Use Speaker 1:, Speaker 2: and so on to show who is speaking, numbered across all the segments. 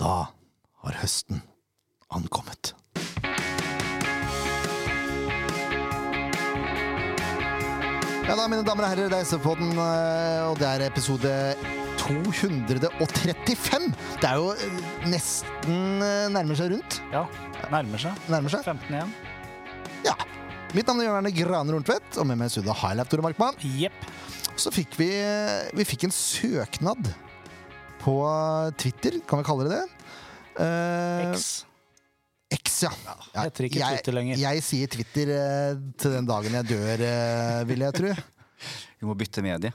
Speaker 1: Da har høsten ankommet. Ja da, mine damer og herrer, det er SV-podden, eh, og det er episode 235! Det er jo eh, nesten eh, nærmer seg rundt.
Speaker 2: Ja, nærmer seg.
Speaker 1: Nærmer seg.
Speaker 2: 15 igjen.
Speaker 1: Ja. Mitt navn er Jørn Erne Graner Horntvedt, og med meg i studio har jeg Leif Tore Markmann.
Speaker 2: Jepp.
Speaker 1: Så fikk vi, eh, vi fikk en søknad på Twitter, kan vi kalle det det? Eh,
Speaker 2: X.
Speaker 1: X, ja. ja.
Speaker 2: heter ikke Twitter lenger.
Speaker 1: Jeg, jeg sier Twitter eh, til den dagen jeg dør, eh, vil jeg tro.
Speaker 3: Vi må bytte medie.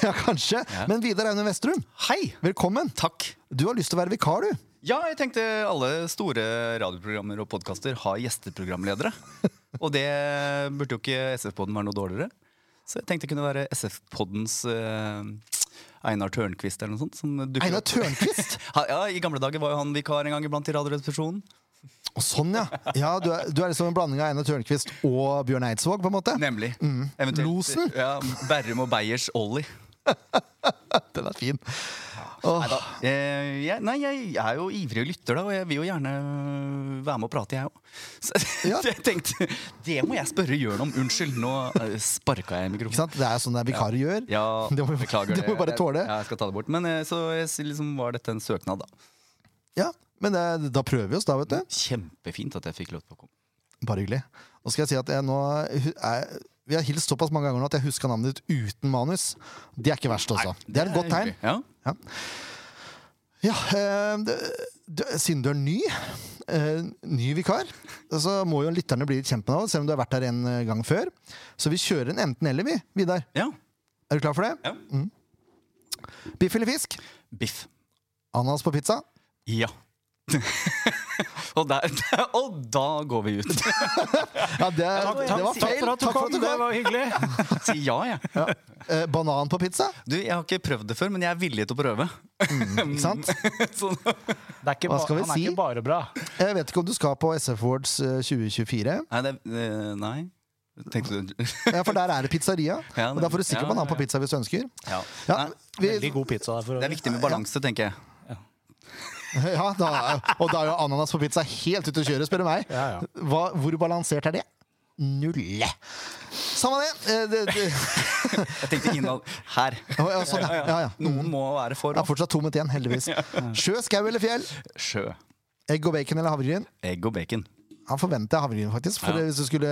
Speaker 1: Ja, kanskje. Men Vidar Aune Vestrum,
Speaker 3: Hei!
Speaker 1: velkommen.
Speaker 3: Takk.
Speaker 1: Du har lyst til å være vikar, du.
Speaker 3: Ja, jeg tenkte alle store radioprogrammer og podkaster har gjesteprogramledere. Og det burde jo ikke SF-podden være noe dårligere. Så jeg tenkte det kunne være SF-poddens eh, Einar Tørnquist eller noe sånt. Som dukker
Speaker 1: Einar
Speaker 3: opp.
Speaker 1: Tørnquist!
Speaker 3: Ha- Ja, I gamle dager var jo han vikar en gang iblant i Radioresepsjonen.
Speaker 1: Og sånn, ja. ja du, er, du er liksom en blanding av Einar Tørnquist og Bjørn Eidsvåg, på en måte.
Speaker 3: Nemlig.
Speaker 1: Mm.
Speaker 3: Eventuelt-
Speaker 1: Losen?
Speaker 3: Ja, Berrum og Beyers Ollie.
Speaker 1: Den er fin. Åh,
Speaker 3: Neida. Eh, jeg, nei, jeg er jo ivrig lytter, da, og jeg vil jo gjerne øh, være med og prate, jeg òg. Så
Speaker 1: Ja.
Speaker 3: jeg tenkte det må jeg spørre Jørn om. Unnskyld, nå sparka jeg
Speaker 1: ikke
Speaker 3: mikrofonen.
Speaker 1: sant? Det er sånn det er vikarer gjør.
Speaker 3: Ja,
Speaker 1: Det må vi-
Speaker 3: beklager
Speaker 1: det må vi bare tåle.
Speaker 3: Ja, jeg skal ta det bort. Men eh, så jeg s- liksom var dette en søknad, da.
Speaker 1: Ja, Men eh, da prøver vi oss, da, vet du.
Speaker 3: Kjempefint at jeg fikk lov til å komme.
Speaker 1: Bare hyggelig. Nå skal jeg si at jeg nå hu- er, Vi har hilst såpass mange ganger nå at jeg huska navnet ditt uten manus. Det er ikke verst, altså. det er et godt tegn.
Speaker 3: hyggelig. Ja.
Speaker 1: Ja, eh, det- det- Siden du er ny, eh, ny vikar, så må jo lytterne bli litt kjent med deg, selv om du har vært her en eh, gang før. Så vi kjører en enten-eller, vi. Vidar,
Speaker 3: ja.
Speaker 1: er du klar for det?
Speaker 3: Ja.
Speaker 1: Mm. Biff eller fisk?
Speaker 3: Biff.
Speaker 1: Ananas på pizza?
Speaker 3: Ja. og, der, og da går vi ut.
Speaker 1: Ja, det,
Speaker 2: Takk,
Speaker 1: det var
Speaker 2: takk, takk
Speaker 1: feil.
Speaker 2: for at du kom, det var hyggelig.
Speaker 3: Si ja, jeg.
Speaker 1: Ja. Eh, banan på pizza?
Speaker 3: Du, jeg har ikke prøvd det før, men jeg er villig til å prøve.
Speaker 1: Ikke sant?
Speaker 2: Mm.
Speaker 3: Sånn.
Speaker 2: Det er ikke
Speaker 1: Hva
Speaker 2: ba,
Speaker 1: skal vi
Speaker 2: han
Speaker 1: si?
Speaker 2: er ikke bare bra.
Speaker 1: Jeg vet ikke om du skal på SF Awards eh, 2024.
Speaker 3: Nei, det, eh, nei. Tenkte du
Speaker 1: Ja, for der er det pizzeria.
Speaker 3: Ja,
Speaker 1: og der får du sikkert
Speaker 3: ja,
Speaker 1: banan på
Speaker 3: ja.
Speaker 1: pizza hvis du ønsker.
Speaker 3: ja.
Speaker 1: Ja,
Speaker 3: Nei,
Speaker 1: vi,
Speaker 2: Veldig god pizza der for
Speaker 3: Det er
Speaker 2: øvrig.
Speaker 3: viktig med balanse, tenker jeg.
Speaker 1: ja da, og da er jo ananas på pizza helt ute å kjøre, spør du meg.
Speaker 2: Ja, ja.
Speaker 1: Hva, hvor balansert er det? Null. Samme det. Eh, det, det.
Speaker 3: Jeg tenkte innad her.
Speaker 1: Å, ja, sånn, ja. ja, ja.
Speaker 3: Noen må være for
Speaker 1: Det er fortsatt to minutter igjen, heldigvis. Sjø, skau eller fjell?
Speaker 3: sjø.
Speaker 1: Egg og bacon eller havregryn?
Speaker 3: Egg og bacon.
Speaker 1: Han forventer havregryn, faktisk. For
Speaker 3: Ja.
Speaker 1: hvis du skulle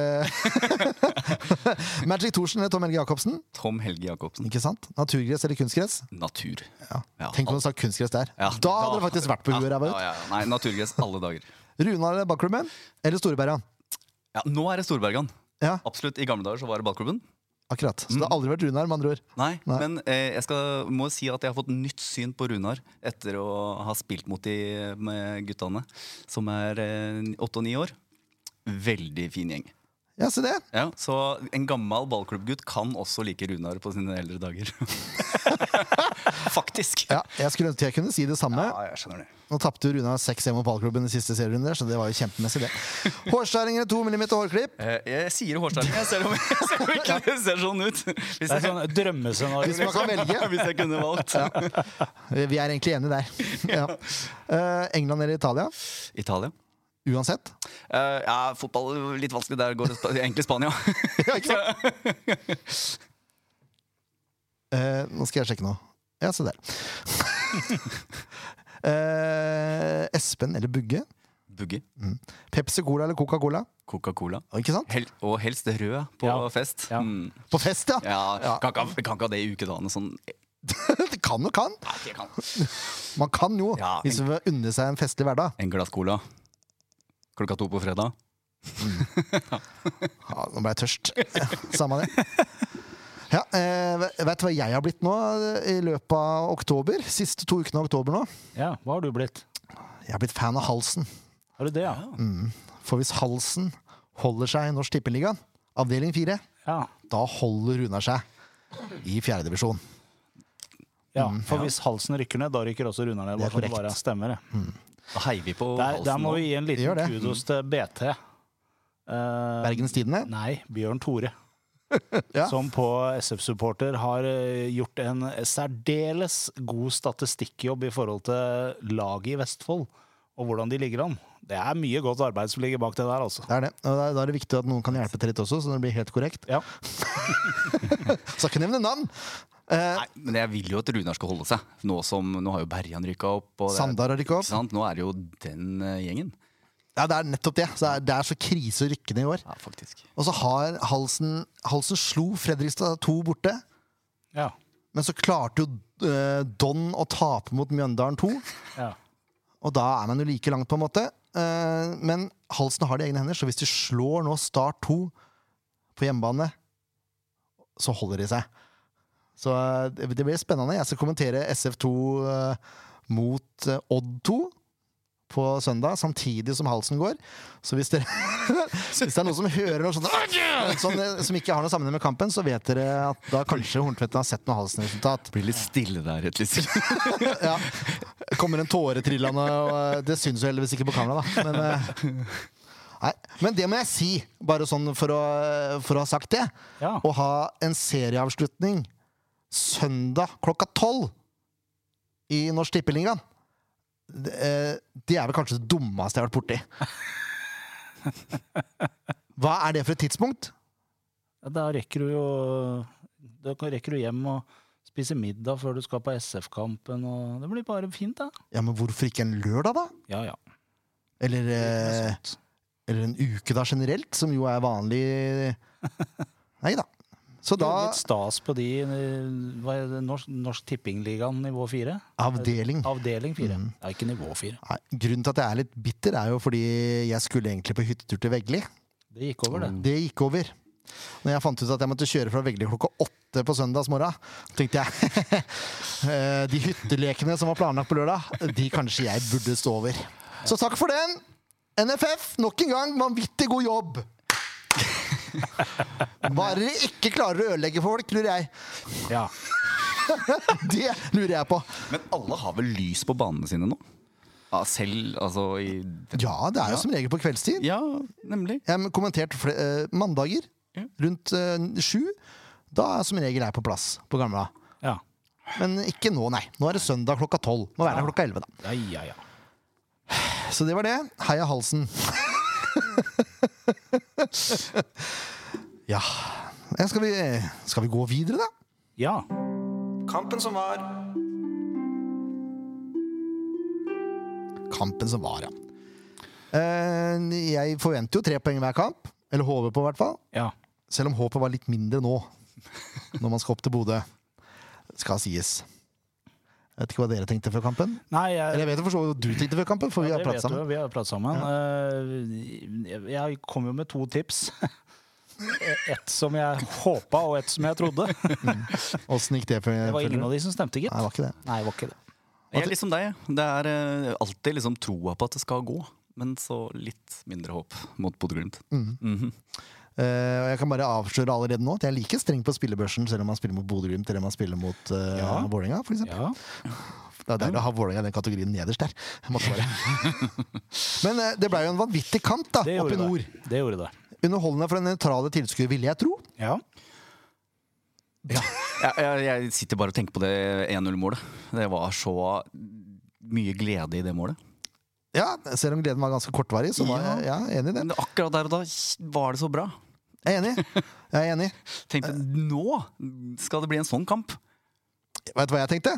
Speaker 1: Magic Thorsen eller Tom Helge Jacobsen?
Speaker 3: Tom Helge Jacobsen.
Speaker 1: Ikke sant? Naturgress eller kunstgress?
Speaker 3: Natur.
Speaker 1: Ja.
Speaker 3: Ja.
Speaker 1: Tenk om du sa kunstgress der.
Speaker 3: Ja,
Speaker 1: da hadde det faktisk vært på huet.
Speaker 3: ja,
Speaker 1: ræva ut.
Speaker 3: ja, ja. Nei, naturgress alle dager.
Speaker 1: Runar eller Bakklubben? Eller Storebergan?
Speaker 3: Ja, nå er det Storbergan.
Speaker 1: Ja,
Speaker 3: Absolutt. I gamle dager så var det ballklubben.
Speaker 1: akkurat. Så det
Speaker 3: Mm.
Speaker 1: har aldri vært Runar, med andre ord.
Speaker 3: Nei,
Speaker 1: Nei.
Speaker 3: men eh, jeg skal, må si at jeg har fått nytt syn på Runar etter å ha spilt mot de med guttene, som er eh, åtte og ni år. Veldig fin gjeng.
Speaker 1: Ja, se det.
Speaker 3: Ja, Så en gammel ballklubbgutt kan også like Runar på sine eldre dager. Faktisk.
Speaker 1: Ja, jeg skulle ønske jeg kunne si det samme.
Speaker 3: Ja, jeg skjønner det.
Speaker 1: Nå tapte jo Runar 6-1 mot ballklubben i siste serierunde, der, så det var jo kjempemessig, det. Hårskjæring eller to millimeter hårklipp?
Speaker 3: Eh, Jeg sier hårstyling, jeg, selv om jeg selv om ikke det ser sånn ut. Hvis
Speaker 2: Det er
Speaker 3: jeg,
Speaker 2: sånn
Speaker 1: Hvis man
Speaker 2: drømmescenario.
Speaker 1: kan velge.
Speaker 3: hvis jeg kunne valgt.
Speaker 1: Vi er egentlig enige der. Ja. Eh, England eller Italia?
Speaker 3: Italia.
Speaker 1: Uansett.
Speaker 3: Eh, ja, fotball er litt vanskelig. Der går det spa- egentlig Spania.
Speaker 1: Ja, ikke sant? Eh, nå skal jeg sjekke noe. Ja, se der. Eh, Espen eller Bugge?
Speaker 3: Bugge.
Speaker 1: Pepsi Cola eller Coca-Cola?
Speaker 3: Coca-Cola.
Speaker 1: Ikke sant?
Speaker 3: Hel og helst rød på
Speaker 2: Ja.
Speaker 3: fest.
Speaker 2: Ja.
Speaker 3: Mm.
Speaker 1: På fest, ja!
Speaker 3: Ja,
Speaker 1: Ja.
Speaker 3: kan ikke ha- kan ikke ha det i ukedagene sånn.
Speaker 1: Det kan og kan.
Speaker 3: Nei, det kan.
Speaker 1: Man kan jo,
Speaker 3: Ja,
Speaker 1: hvis man vil unne seg en festlig hverdag.
Speaker 3: En glass cola klokka to på fredag.
Speaker 1: Ja, nå ble jeg tørst. Samme det. Ja, eh, Vet du hva jeg har blitt nå eh, i løpet av oktober? Siste to ukene av oktober nå.
Speaker 2: Ja, hva har du blitt?
Speaker 1: Jeg har blitt fan av halsen.
Speaker 2: Har du det, ja?
Speaker 1: For hvis halsen holder seg i Norsk Tippeliga, avdeling fire,
Speaker 2: Ja.
Speaker 1: da holder Runar seg i fjerdedivisjon.
Speaker 2: ja. For hvis halsen rykker ned, da rykker også Runar ned.
Speaker 1: Mm, Det er
Speaker 2: Bare sånn det
Speaker 1: korrekt.
Speaker 2: bare stemmer. det.
Speaker 3: Da heier vi på
Speaker 2: Der, der
Speaker 3: halsen
Speaker 2: må
Speaker 3: nå.
Speaker 2: vi gi en liten
Speaker 1: Gjør det.
Speaker 2: kudos til BT. Eh,
Speaker 1: Bergens Tidende.
Speaker 2: nei, Bjørn Tore.
Speaker 1: Ja.
Speaker 2: som på SF-supporter har eh, gjort en særdeles god statistikkjobb i forhold til laget i Vestfold, og hvordan de ligger an. Det er mye godt arbeid som ligger bak det der, altså.
Speaker 1: Det er det. Og da- da er det viktig at noen kan hjelpe til litt også, så det blir helt korrekt.
Speaker 2: Ja.
Speaker 1: Skal ikke nevne navn! Eh,
Speaker 3: Nei, men jeg vil jo at Runar skal holde seg. Nå, som, nå har jo Berjan rykka opp. Og det er-
Speaker 1: Sandar har rykka
Speaker 3: Ikke
Speaker 1: opp.
Speaker 3: sant? Nå er det jo den eh, gjengen.
Speaker 1: Ja, det er nettopp det. Så det, er, det er så krise å rykke ned i år.
Speaker 3: Ja, faktisk.
Speaker 1: Og så har Halsen Halsen slo Fredrikstad 2 borte.
Speaker 2: Ja.
Speaker 1: Men så klarte jo eh, Don å tape mot Mjøndalen 2.
Speaker 2: Ja.
Speaker 1: Og da er man jo like langt, på en måte. Eh, men Halsen har det i egne hender, så hvis de slår nå Start 2 på hjemmebane, så holder de seg. Så eh, det det blir spennende. Jeg skal kommentere SF2 eh, mot eh, Odd 2 på søndag, samtidig som Halsen går. Så hvis, dere, hvis det er noen som hører noe sånt sånn, eh, som ikke har noe sammenheng med kampen, så vet dere at da kanskje Horntvedten har sett noe Halsen-resultat.
Speaker 3: Blir litt stille der, rett litt.
Speaker 1: Ja. Kommer en tåre trillende, og eh, det syns jo heldigvis ikke på kamera, da. Men, eh, nei. Men det må jeg si, bare sånn for å, for å ha sagt det.
Speaker 2: Ja.
Speaker 1: Å ha en serieavslutning søndag klokka tolv i Norsk Tippeligaen det, eh, det er vel kanskje det dummeste jeg har vært borti. Hva er det for et tidspunkt?
Speaker 2: Ja, Da rekker du jo da kan- rekker du hjem og spise middag før du skal på SF-kampen. og Det blir bare fint, da.
Speaker 1: Ja, men Hvorfor ikke en lørdag, da?
Speaker 2: Ja, ja.
Speaker 1: Eller eh, Eller en uke da generelt, som jo er vanlig Nei da. Så
Speaker 2: Da...
Speaker 1: da
Speaker 2: Litt stas på de eh, hva er det, Norsk, norsk Tippingligaen nivå fire?
Speaker 1: Avdeling.
Speaker 2: Avdeling fire. Ja, ikke nivå fire.
Speaker 1: Nei, grunnen til at jeg er litt bitter, er jo fordi jeg skulle egentlig på hyttetur til Veggli.
Speaker 2: Det gikk over, det.
Speaker 1: Det gikk over. Når jeg fant ut at jeg måtte kjøre fra Veggli klokka åtte på søndagsmorgen, tenkte jeg eh, De hyttelekene som var planlagt på lørdag, de kanskje jeg burde stå over. Så takk for den! NFF, nok en gang vanvittig god jobb! Bare dere ikke klarer å ødelegge for folk, lurer jeg.
Speaker 2: Ja.
Speaker 1: Det lurer jeg på.
Speaker 3: Men alle har vel lys på banene sine nå? Ja, selv, altså i
Speaker 1: Ja, det er jo som regel på kveldstid.
Speaker 3: Ja, nemlig.
Speaker 1: Jeg har kommentert fle- eh, mandager
Speaker 3: Ja.
Speaker 1: rundt eh, sju. Da er som regel jeg på plass på gamla.
Speaker 2: Ja.
Speaker 1: Men ikke nå, nei. Nå er det søndag klokka tolv. Nå er det klokka elleve, da.
Speaker 2: Ja, ja, ja.
Speaker 1: Så det var det. Heia halsen. ja Eh, skal vi, skal vi gå videre, da?
Speaker 2: ja.
Speaker 1: Kampen som var. Kampen som var, ja. Eh, jeg forventer jo tre poeng hver kamp. Eller håper på, i hvert fall.
Speaker 2: ja.
Speaker 1: Selv om håpet var litt mindre nå, når man skal opp til Bodø. Skal sies. Jeg vet ikke hva dere tenkte før kampen.
Speaker 2: Nei,
Speaker 1: Eller
Speaker 2: jeg,
Speaker 1: jeg vet jo for så vidt hva du tenkte før kampen, for vi
Speaker 2: Ja,
Speaker 1: har
Speaker 2: det
Speaker 1: pratet
Speaker 2: vet du,
Speaker 1: sammen.
Speaker 2: Vi har pratet sammen. Eh, jeg- Jeg kom jo med to tips. Ett som jeg håpa, og ett som jeg trodde. Det
Speaker 1: Åssen gikk det? For,
Speaker 2: var ingen av de som stemte, gitt.
Speaker 1: Nei, det var ikke det.
Speaker 2: Nei, det var ikke det.
Speaker 3: Jeg er liksom deg. jeg. Det er eh, alltid liksom troa på at det skal gå, men så litt mindre håp mot Bodø-Glimt. Mhm.
Speaker 1: Eh, og jeg kan bare avsløre allerede nå at jeg er like streng på spillebørsen selv om man spiller mot Bodø-Glimt eller man spiller mot uh,
Speaker 2: Ja.
Speaker 1: Vålerenga. for eksempel.
Speaker 2: Ja.
Speaker 1: Det er deilig å ha Vålerenga i den kategorien nederst der. Jeg måtte bare. Men eh, det ble jo en vanvittig kamp da,
Speaker 2: Det gjorde
Speaker 1: oppe i nord.
Speaker 2: det. Det gjorde det.
Speaker 1: Underholdende for den nøytrale tilskuer, ville jeg tro.
Speaker 2: Ja.
Speaker 3: Jeg, jeg, jeg sitter bare og tenker på det 1-0-målet. Det var så mye glede i det målet.
Speaker 1: Ja, Selv om gleden var ganske kortvarig, så var jeg ja, enig i det.
Speaker 3: Men akkurat der og da var det så bra.
Speaker 1: Jeg er enig. Jeg er enig.
Speaker 3: Tenkte nå skal det bli en sånn kamp!
Speaker 1: Vet du hva jeg tenkte?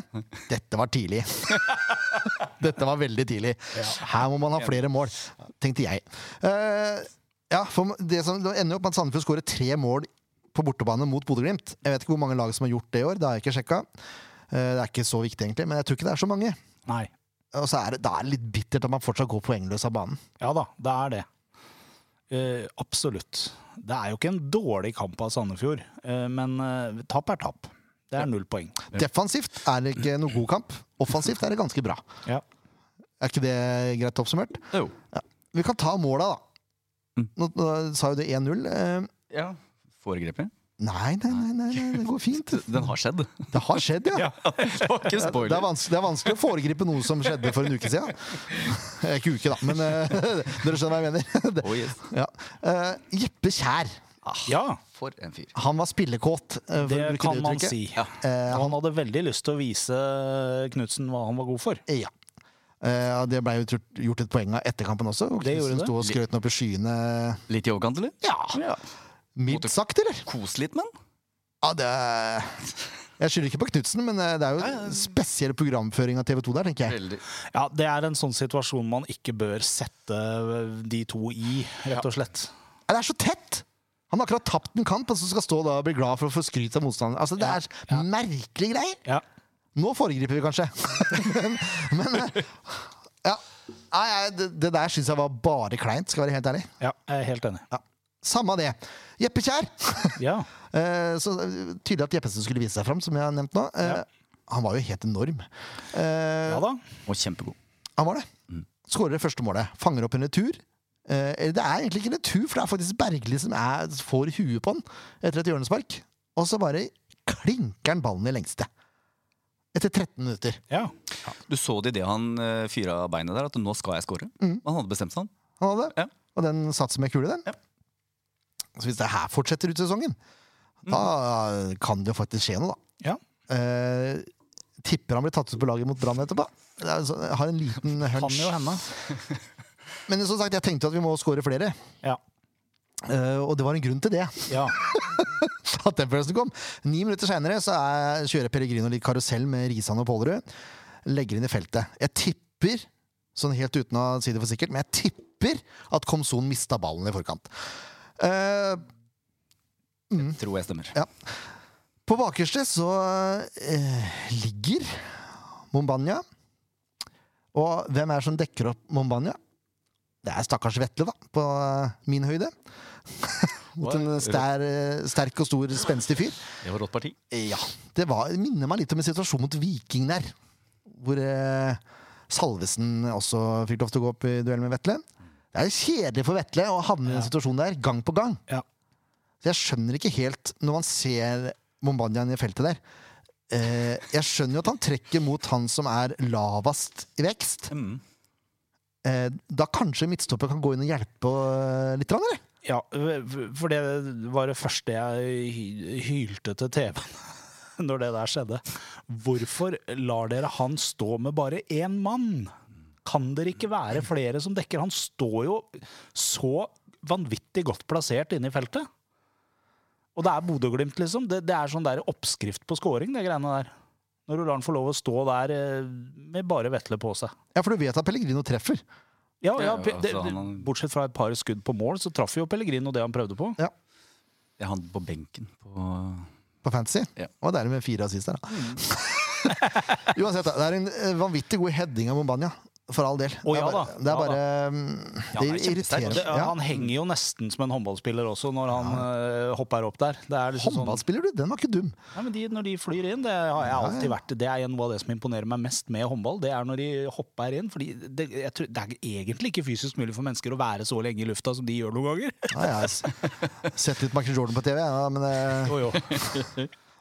Speaker 1: Dette var tidlig. Dette var veldig tidlig. Her må man ha flere mål, tenkte jeg. Eh, ja, for det, som, det ender jo opp med at Sandefjord skårer tre mål på bortebane mot Bodø-Glimt. Jeg vet ikke hvor mange lag som har gjort det i år, det har jeg ikke sjekka. Eh, det er ikke så viktig, egentlig, men jeg tror ikke det er så mange.
Speaker 2: Nei.
Speaker 1: Og så er det, da er det litt bittert at man fortsatt går poengløs av banen.
Speaker 2: Ja da, det er det. Eh, absolutt. Det er jo ikke en dårlig kamp av Sandefjord, eh, men eh, tap er tap. Det er null poeng.
Speaker 1: Defensivt er det ikke noe god kamp. Offensivt er det ganske bra.
Speaker 2: Ja.
Speaker 1: Er ikke det greit oppsummert?
Speaker 3: Jo.
Speaker 1: Vi kan ta måla, da.
Speaker 3: Mm.
Speaker 1: Nå, nå sa jo det 1-0. Eh,
Speaker 3: Ja. Foregrepet?
Speaker 1: nei, nei, nei, nei, nei, det går fint.
Speaker 3: Den har skjedd.
Speaker 1: Det har skjedd, ja.
Speaker 3: Det var ikke
Speaker 1: Det er,
Speaker 3: spoiler.
Speaker 1: vanskelig, det er vanskelig å foregripe noe som skjedde for en uke siden. Eh, Ikke uke, da, men eh, dere skjønner hva jeg mener. Det-
Speaker 3: Oh, yes.
Speaker 1: Ja. Eh, Jeppe Kjær
Speaker 2: Ja,
Speaker 3: For en fyr.
Speaker 1: Han var spillekåt, eh, for
Speaker 2: Ah. det
Speaker 1: å bruke
Speaker 2: kan
Speaker 1: det
Speaker 2: man
Speaker 1: uttrykket.
Speaker 2: si.
Speaker 3: Ja.
Speaker 1: Eh,
Speaker 2: Han hadde veldig lyst til å vise Knutsen hva han var god for.
Speaker 1: Ja. Eh, og det ble jo turt- gjort et poeng av etter kampen også. Og
Speaker 2: Det gjorde
Speaker 1: Knutsen
Speaker 2: det.
Speaker 1: sto og skrøt den opp i skyene.
Speaker 3: Litt i overkant, eller?
Speaker 1: Ja,
Speaker 2: Ja.
Speaker 1: Mildt sagt, eller?
Speaker 3: Kos litt, mann.
Speaker 1: Ja, det er- Jeg skylder ikke på Knutsen, men eh, det er jo
Speaker 3: Ja, ja.
Speaker 1: spesiell programføring av TV 2 der, tenker jeg.
Speaker 3: Veldig.
Speaker 2: Det er en sånn situasjon man ikke bør sette de to i, rett og slett.
Speaker 1: Ja, Det er så tett! Han har akkurat tapt en kamp, og så skal stå da og bli glad for å få skryt av motstanderen. Altså, det
Speaker 2: Ja,
Speaker 1: er merkelige greier!
Speaker 2: Ja.
Speaker 1: Nå foregriper vi kanskje. men, men eh, ja. Nei, nei, det, det der syns jeg var bare kleint, skal jeg være helt ærlig.
Speaker 2: ja, jeg er helt enig.
Speaker 1: Ja. Samme det. Jeppe Kjær!
Speaker 2: Ja.
Speaker 1: Eh, Så eh, tydelig at Jeppesen skulle vise seg fram, som jeg har nevnt nå. Eh,
Speaker 2: Ja.
Speaker 1: Han var jo helt enorm. Eh,
Speaker 2: ja da.
Speaker 3: Og kjempegod.
Speaker 1: Han var det. Skårer det første målet. Fanger opp en retur. Eh, eller det er egentlig ikke en retur, for det er faktisk Bergli som er, får huet på han etter et hjørnespark. Og så bare klinker han ballen i lengste. Etter 13 minutter.
Speaker 2: Ja.
Speaker 3: Du så det idet han eh, fyra av beinet der, at nå skal jeg score. Han hadde bestemt seg, han.
Speaker 1: Han hadde.
Speaker 3: Ja.
Speaker 1: Og den satt som ei kule, den.
Speaker 3: Ja.
Speaker 1: Så hvis det her fortsetter ut sesongen, da kan det jo faktisk skje noe, da.
Speaker 2: ja.
Speaker 1: Eh, tipper han blir tatt ut på laget mot Brann etterpå. Det er så- Jeg har en liten
Speaker 2: Kan
Speaker 1: hunch.
Speaker 2: jo hende.
Speaker 1: Men som sagt, jeg tenkte at vi må score flere.
Speaker 2: Ja.
Speaker 1: Eh, og det var en grunn til det.
Speaker 2: ja.
Speaker 1: At den følelsen kom Ni minutter seinere kjører Pellegrino litt karusell med Risan og Pålerud. Legger inn i feltet. Jeg tipper, sånn helt uten å si det for sikkert, men jeg tipper at Komson mista ballen i forkant. Eh,
Speaker 3: Tror jeg stemmer.
Speaker 1: På bakerste så eh, ligger Mombania. Og hvem er det som dekker opp Mombania? Det er stakkars Vetle, da, på eh, min høyde. Mot en stær, eh, sterk og stor, spenstig fyr.
Speaker 3: Det var rått parti.
Speaker 1: Ja, Det var, minner meg litt om en situasjon mot Viking der. Hvor eh, Salvesen også fikk lov til å gå opp i duell med Vetle. Det er kjedelig for Vetle å havne i den situasjonen der gang på gang.
Speaker 2: ja.
Speaker 1: Så jeg skjønner ikke helt, når man ser Mombandian i feltet der eh, Jeg skjønner jo at han trekker mot han som er lavest i vekst.
Speaker 3: Mm.
Speaker 1: Eh, da kanskje midtstopper kan gå inn og hjelpe eh, litt? grann, Eller?
Speaker 2: Ja, for det var det første jeg hy- hylte til TV-en når det der skjedde. Hvorfor lar dere han stå med bare én mann? Kan dere ikke være flere som dekker? Han står jo så vanvittig godt plassert inne i feltet. Og det er Bodø-Glimt, liksom. Det, det er sånn der oppskrift på scoring, det greiene der. Når du lar han få lov å stå der eh, med bare vetle på seg.
Speaker 1: Ja, for du vet at Pellegrino treffer.
Speaker 2: Ja, ja,
Speaker 3: Ja,
Speaker 2: pe- det,
Speaker 3: altså, han-
Speaker 2: bortsett fra et par skudd på mål, så traff jo Pellegrino det han prøvde på.
Speaker 1: Ja,
Speaker 3: Jeg hadde på benken på
Speaker 1: På Fantasy.
Speaker 3: Ja.
Speaker 1: Og dermed fire assist der, da.
Speaker 2: Mm.
Speaker 1: Uansett, da, det er en eh, vanvittig god heading av Mombania. For all del.
Speaker 2: Å,
Speaker 1: det
Speaker 2: ja
Speaker 1: er bare,
Speaker 2: da.
Speaker 1: det, er
Speaker 2: Ja
Speaker 1: bare, mm, det
Speaker 3: han er kjempesterk.
Speaker 1: irriterer
Speaker 2: Det,
Speaker 1: meg. Ja.
Speaker 2: Han henger jo nesten som en håndballspiller også når han eh, hopper opp der. Det er liksom sånn,
Speaker 1: Håndballspiller, du! Den var ikke dum.
Speaker 2: nei, men de, når de flyr inn, det har jeg alltid vært Det er noe av det som imponerer meg mest med håndball. Det er når de hopper inn. Fordi det, jeg tror, det er egentlig ikke fysisk mulig for mennesker å være så lenge i lufta som de gjør noen ganger.
Speaker 1: Ja, jeg har s- sett litt Michael Jordan på TV, ja, men eh,
Speaker 2: Jo, jo.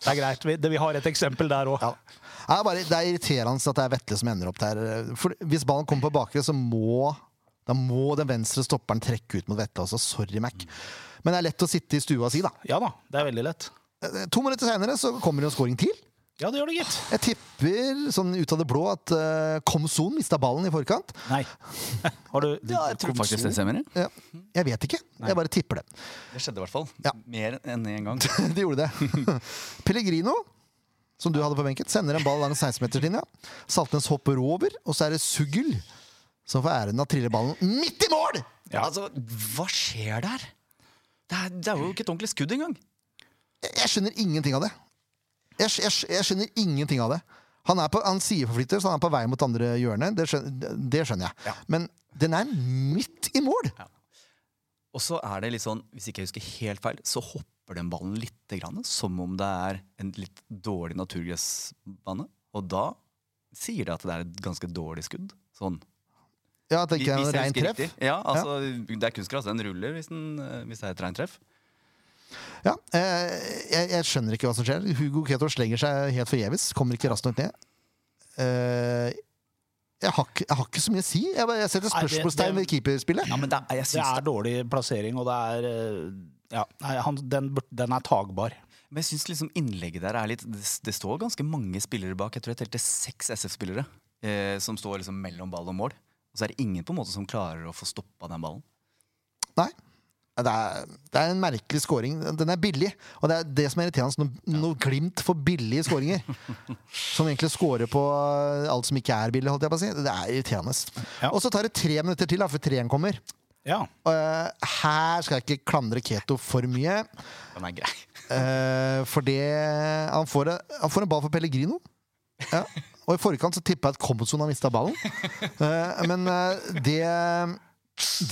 Speaker 2: Det er greit. Vi, det, vi har et eksempel der òg.
Speaker 1: Ja. Det er, bare, det er irriterende at det er Vetle som ender opp der. For hvis ballen kommer på bakre, så må, da må den venstre stopperen trekke ut mot Vetle. Også. Sorry, Mac. Men det er lett å sitte i stua og si, da.
Speaker 2: Ja da, det er veldig lett.
Speaker 1: Eh, To minutter seinere kommer det en scoring til.
Speaker 2: Ja, det gjør det, gitt.
Speaker 1: Jeg tipper sånn ut av det blå at uh, Komson mista ballen i forkant.
Speaker 2: Nei. Har du
Speaker 3: Ja, jeg tror faktisk det stemmer. jeg.
Speaker 1: Ja, jeg vet ikke. Jeg bare tipper det.
Speaker 3: Det skjedde i hvert fall.
Speaker 1: Ja.
Speaker 3: Mer enn én gang.
Speaker 1: De gjorde det. Pellegrino, som du hadde på benken, sender en ball langs 16-meterslinja. Saltnes hopper over, og så er det Sugl som får æren av å trille ballen midt i mål!
Speaker 2: Ja.
Speaker 3: Altså, hva skjer der? Det er, det er jo ikke et ordentlig skudd engang.
Speaker 1: Jeg, jeg skjønner ingenting av det. Jeg, skj- jeg, skj- jeg skjønner ingenting av det. Han, er på, han sier forflytter, så han er på vei mot andre hjørnet. Det skjønner, det skjønner jeg.
Speaker 3: Ja.
Speaker 1: Men den er midt i mål!
Speaker 3: Og så er det litt sånn, hvis ikke jeg husker helt feil, så hopper den ballen litt, grann, som om det er en litt dårlig naturgressbane. Og da sier det at det er et ganske dårlig skudd. Sånn.
Speaker 1: Ja, at det ikke er
Speaker 3: Hvis
Speaker 1: noe
Speaker 3: jeg
Speaker 1: reint
Speaker 3: husker
Speaker 1: treff.
Speaker 3: riktig. Ja, altså, Det er kunstgress, den ruller hvis, den, eh, hvis det er et rent treff.
Speaker 1: Ja, eh, jeg, jeg skjønner ikke hva som skjer. Hugo Keto slenger seg helt forgjeves. Kommer ikke raskt nok ned. Eh, jeg, har, ikke- jeg har ikke så mye å si. Jeg, bare, jeg setter
Speaker 2: Nei, det-
Speaker 1: spørsmålstegn ved
Speaker 2: det-
Speaker 1: keeperspillet.
Speaker 3: Ja, men det er, jeg
Speaker 2: Det
Speaker 3: syns
Speaker 2: er dårlig plassering, og det er eh, Ja, nei, han, den, bur- den er tagbar.
Speaker 3: Men jeg syns liksom innlegget der er litt det, det står ganske mange spillere bak. Jeg tror jeg telte seks SF-spillere eh, som står liksom mellom ball og mål. Og så er det ingen på en måte som klarer å få stoppa den ballen.
Speaker 1: Nei. Det er, det er en merkelig scoring. Den er billig. Og det er det som er irriterende. Når, når Glimt får billige scoringer. som egentlig scorer på eh, alt som ikke er billig. Holdt jeg på å si. Det er irriterende.
Speaker 2: Ja.
Speaker 1: Og så tar det tre minutter til da, før treen kommer.
Speaker 2: Ja.
Speaker 1: Og, eh, her skal jeg ikke klandre Keto for mye.
Speaker 3: Den er grei.
Speaker 1: eh, for det han får, han får en ball for Pellegrino. Ja. Og i forkant så tippa jeg at Komboson har mista ballen. Eh, men eh, det,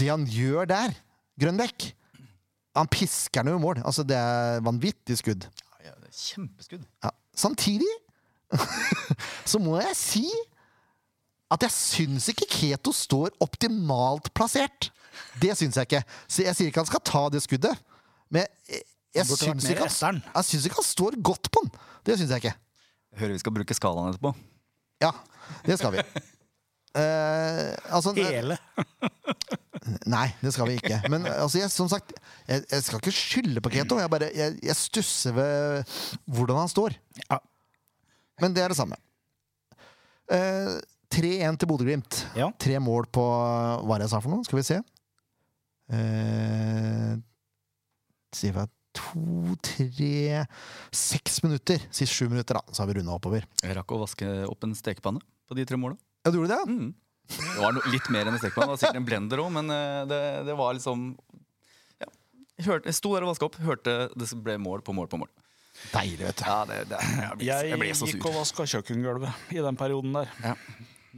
Speaker 1: det han gjør der, Grønbekk Han pisker den jo i mål. Altså, det er vanvittig skudd.
Speaker 3: Ja, ja, det er Kjempeskudd.
Speaker 1: Ja. Samtidig så må jeg si at jeg syns ikke Keto står optimalt plassert. Det syns jeg ikke. Så jeg sier ikke han skal ta det skuddet, men jeg, jeg,
Speaker 2: Han burde vært
Speaker 1: syns,
Speaker 2: mer
Speaker 1: ikke
Speaker 2: etteren.
Speaker 1: han, jeg syns ikke han står godt på den. Det syns jeg ikke.
Speaker 3: Jeg hører vi skal bruke skalaen etterpå.
Speaker 1: Ja, det skal vi. Eh, altså, eh,
Speaker 2: Hele.
Speaker 1: Nei, det skal vi ikke. Men altså, jeg, som sagt, jeg, jeg skal ikke skylde på Keto. Jeg, bare, jeg, jeg stusser ved hvordan han står.
Speaker 2: Ja.
Speaker 1: Men det er det samme. Eh, 3-1 til Bodø-Glimt.
Speaker 2: Ja.
Speaker 1: Tre mål på eh, hva er det jeg sa for noe. Skal vi se. Eh, si hva To, tre Seks minutter. Sist sju minutter, da. Så har vi runda oppover.
Speaker 3: Jeg rakk å vaske opp en stekepanne på de tre måla.
Speaker 1: Ja, du gjorde det? ja?
Speaker 3: Mm. Det var no litt mer enn en stekepanne. Det var sikkert en blender òg, men eh, det, det var liksom ja. Jeg hørte, jeg sto der og vaska opp, hørte det ble mål på mål på mål.
Speaker 1: Deilig, vet du.
Speaker 3: Ja, det, det, jeg, ble, jeg ble
Speaker 2: Jeg
Speaker 3: så
Speaker 2: gikk og
Speaker 3: sur.
Speaker 2: vaska kjøkkengulvet i den perioden der.
Speaker 3: Ja.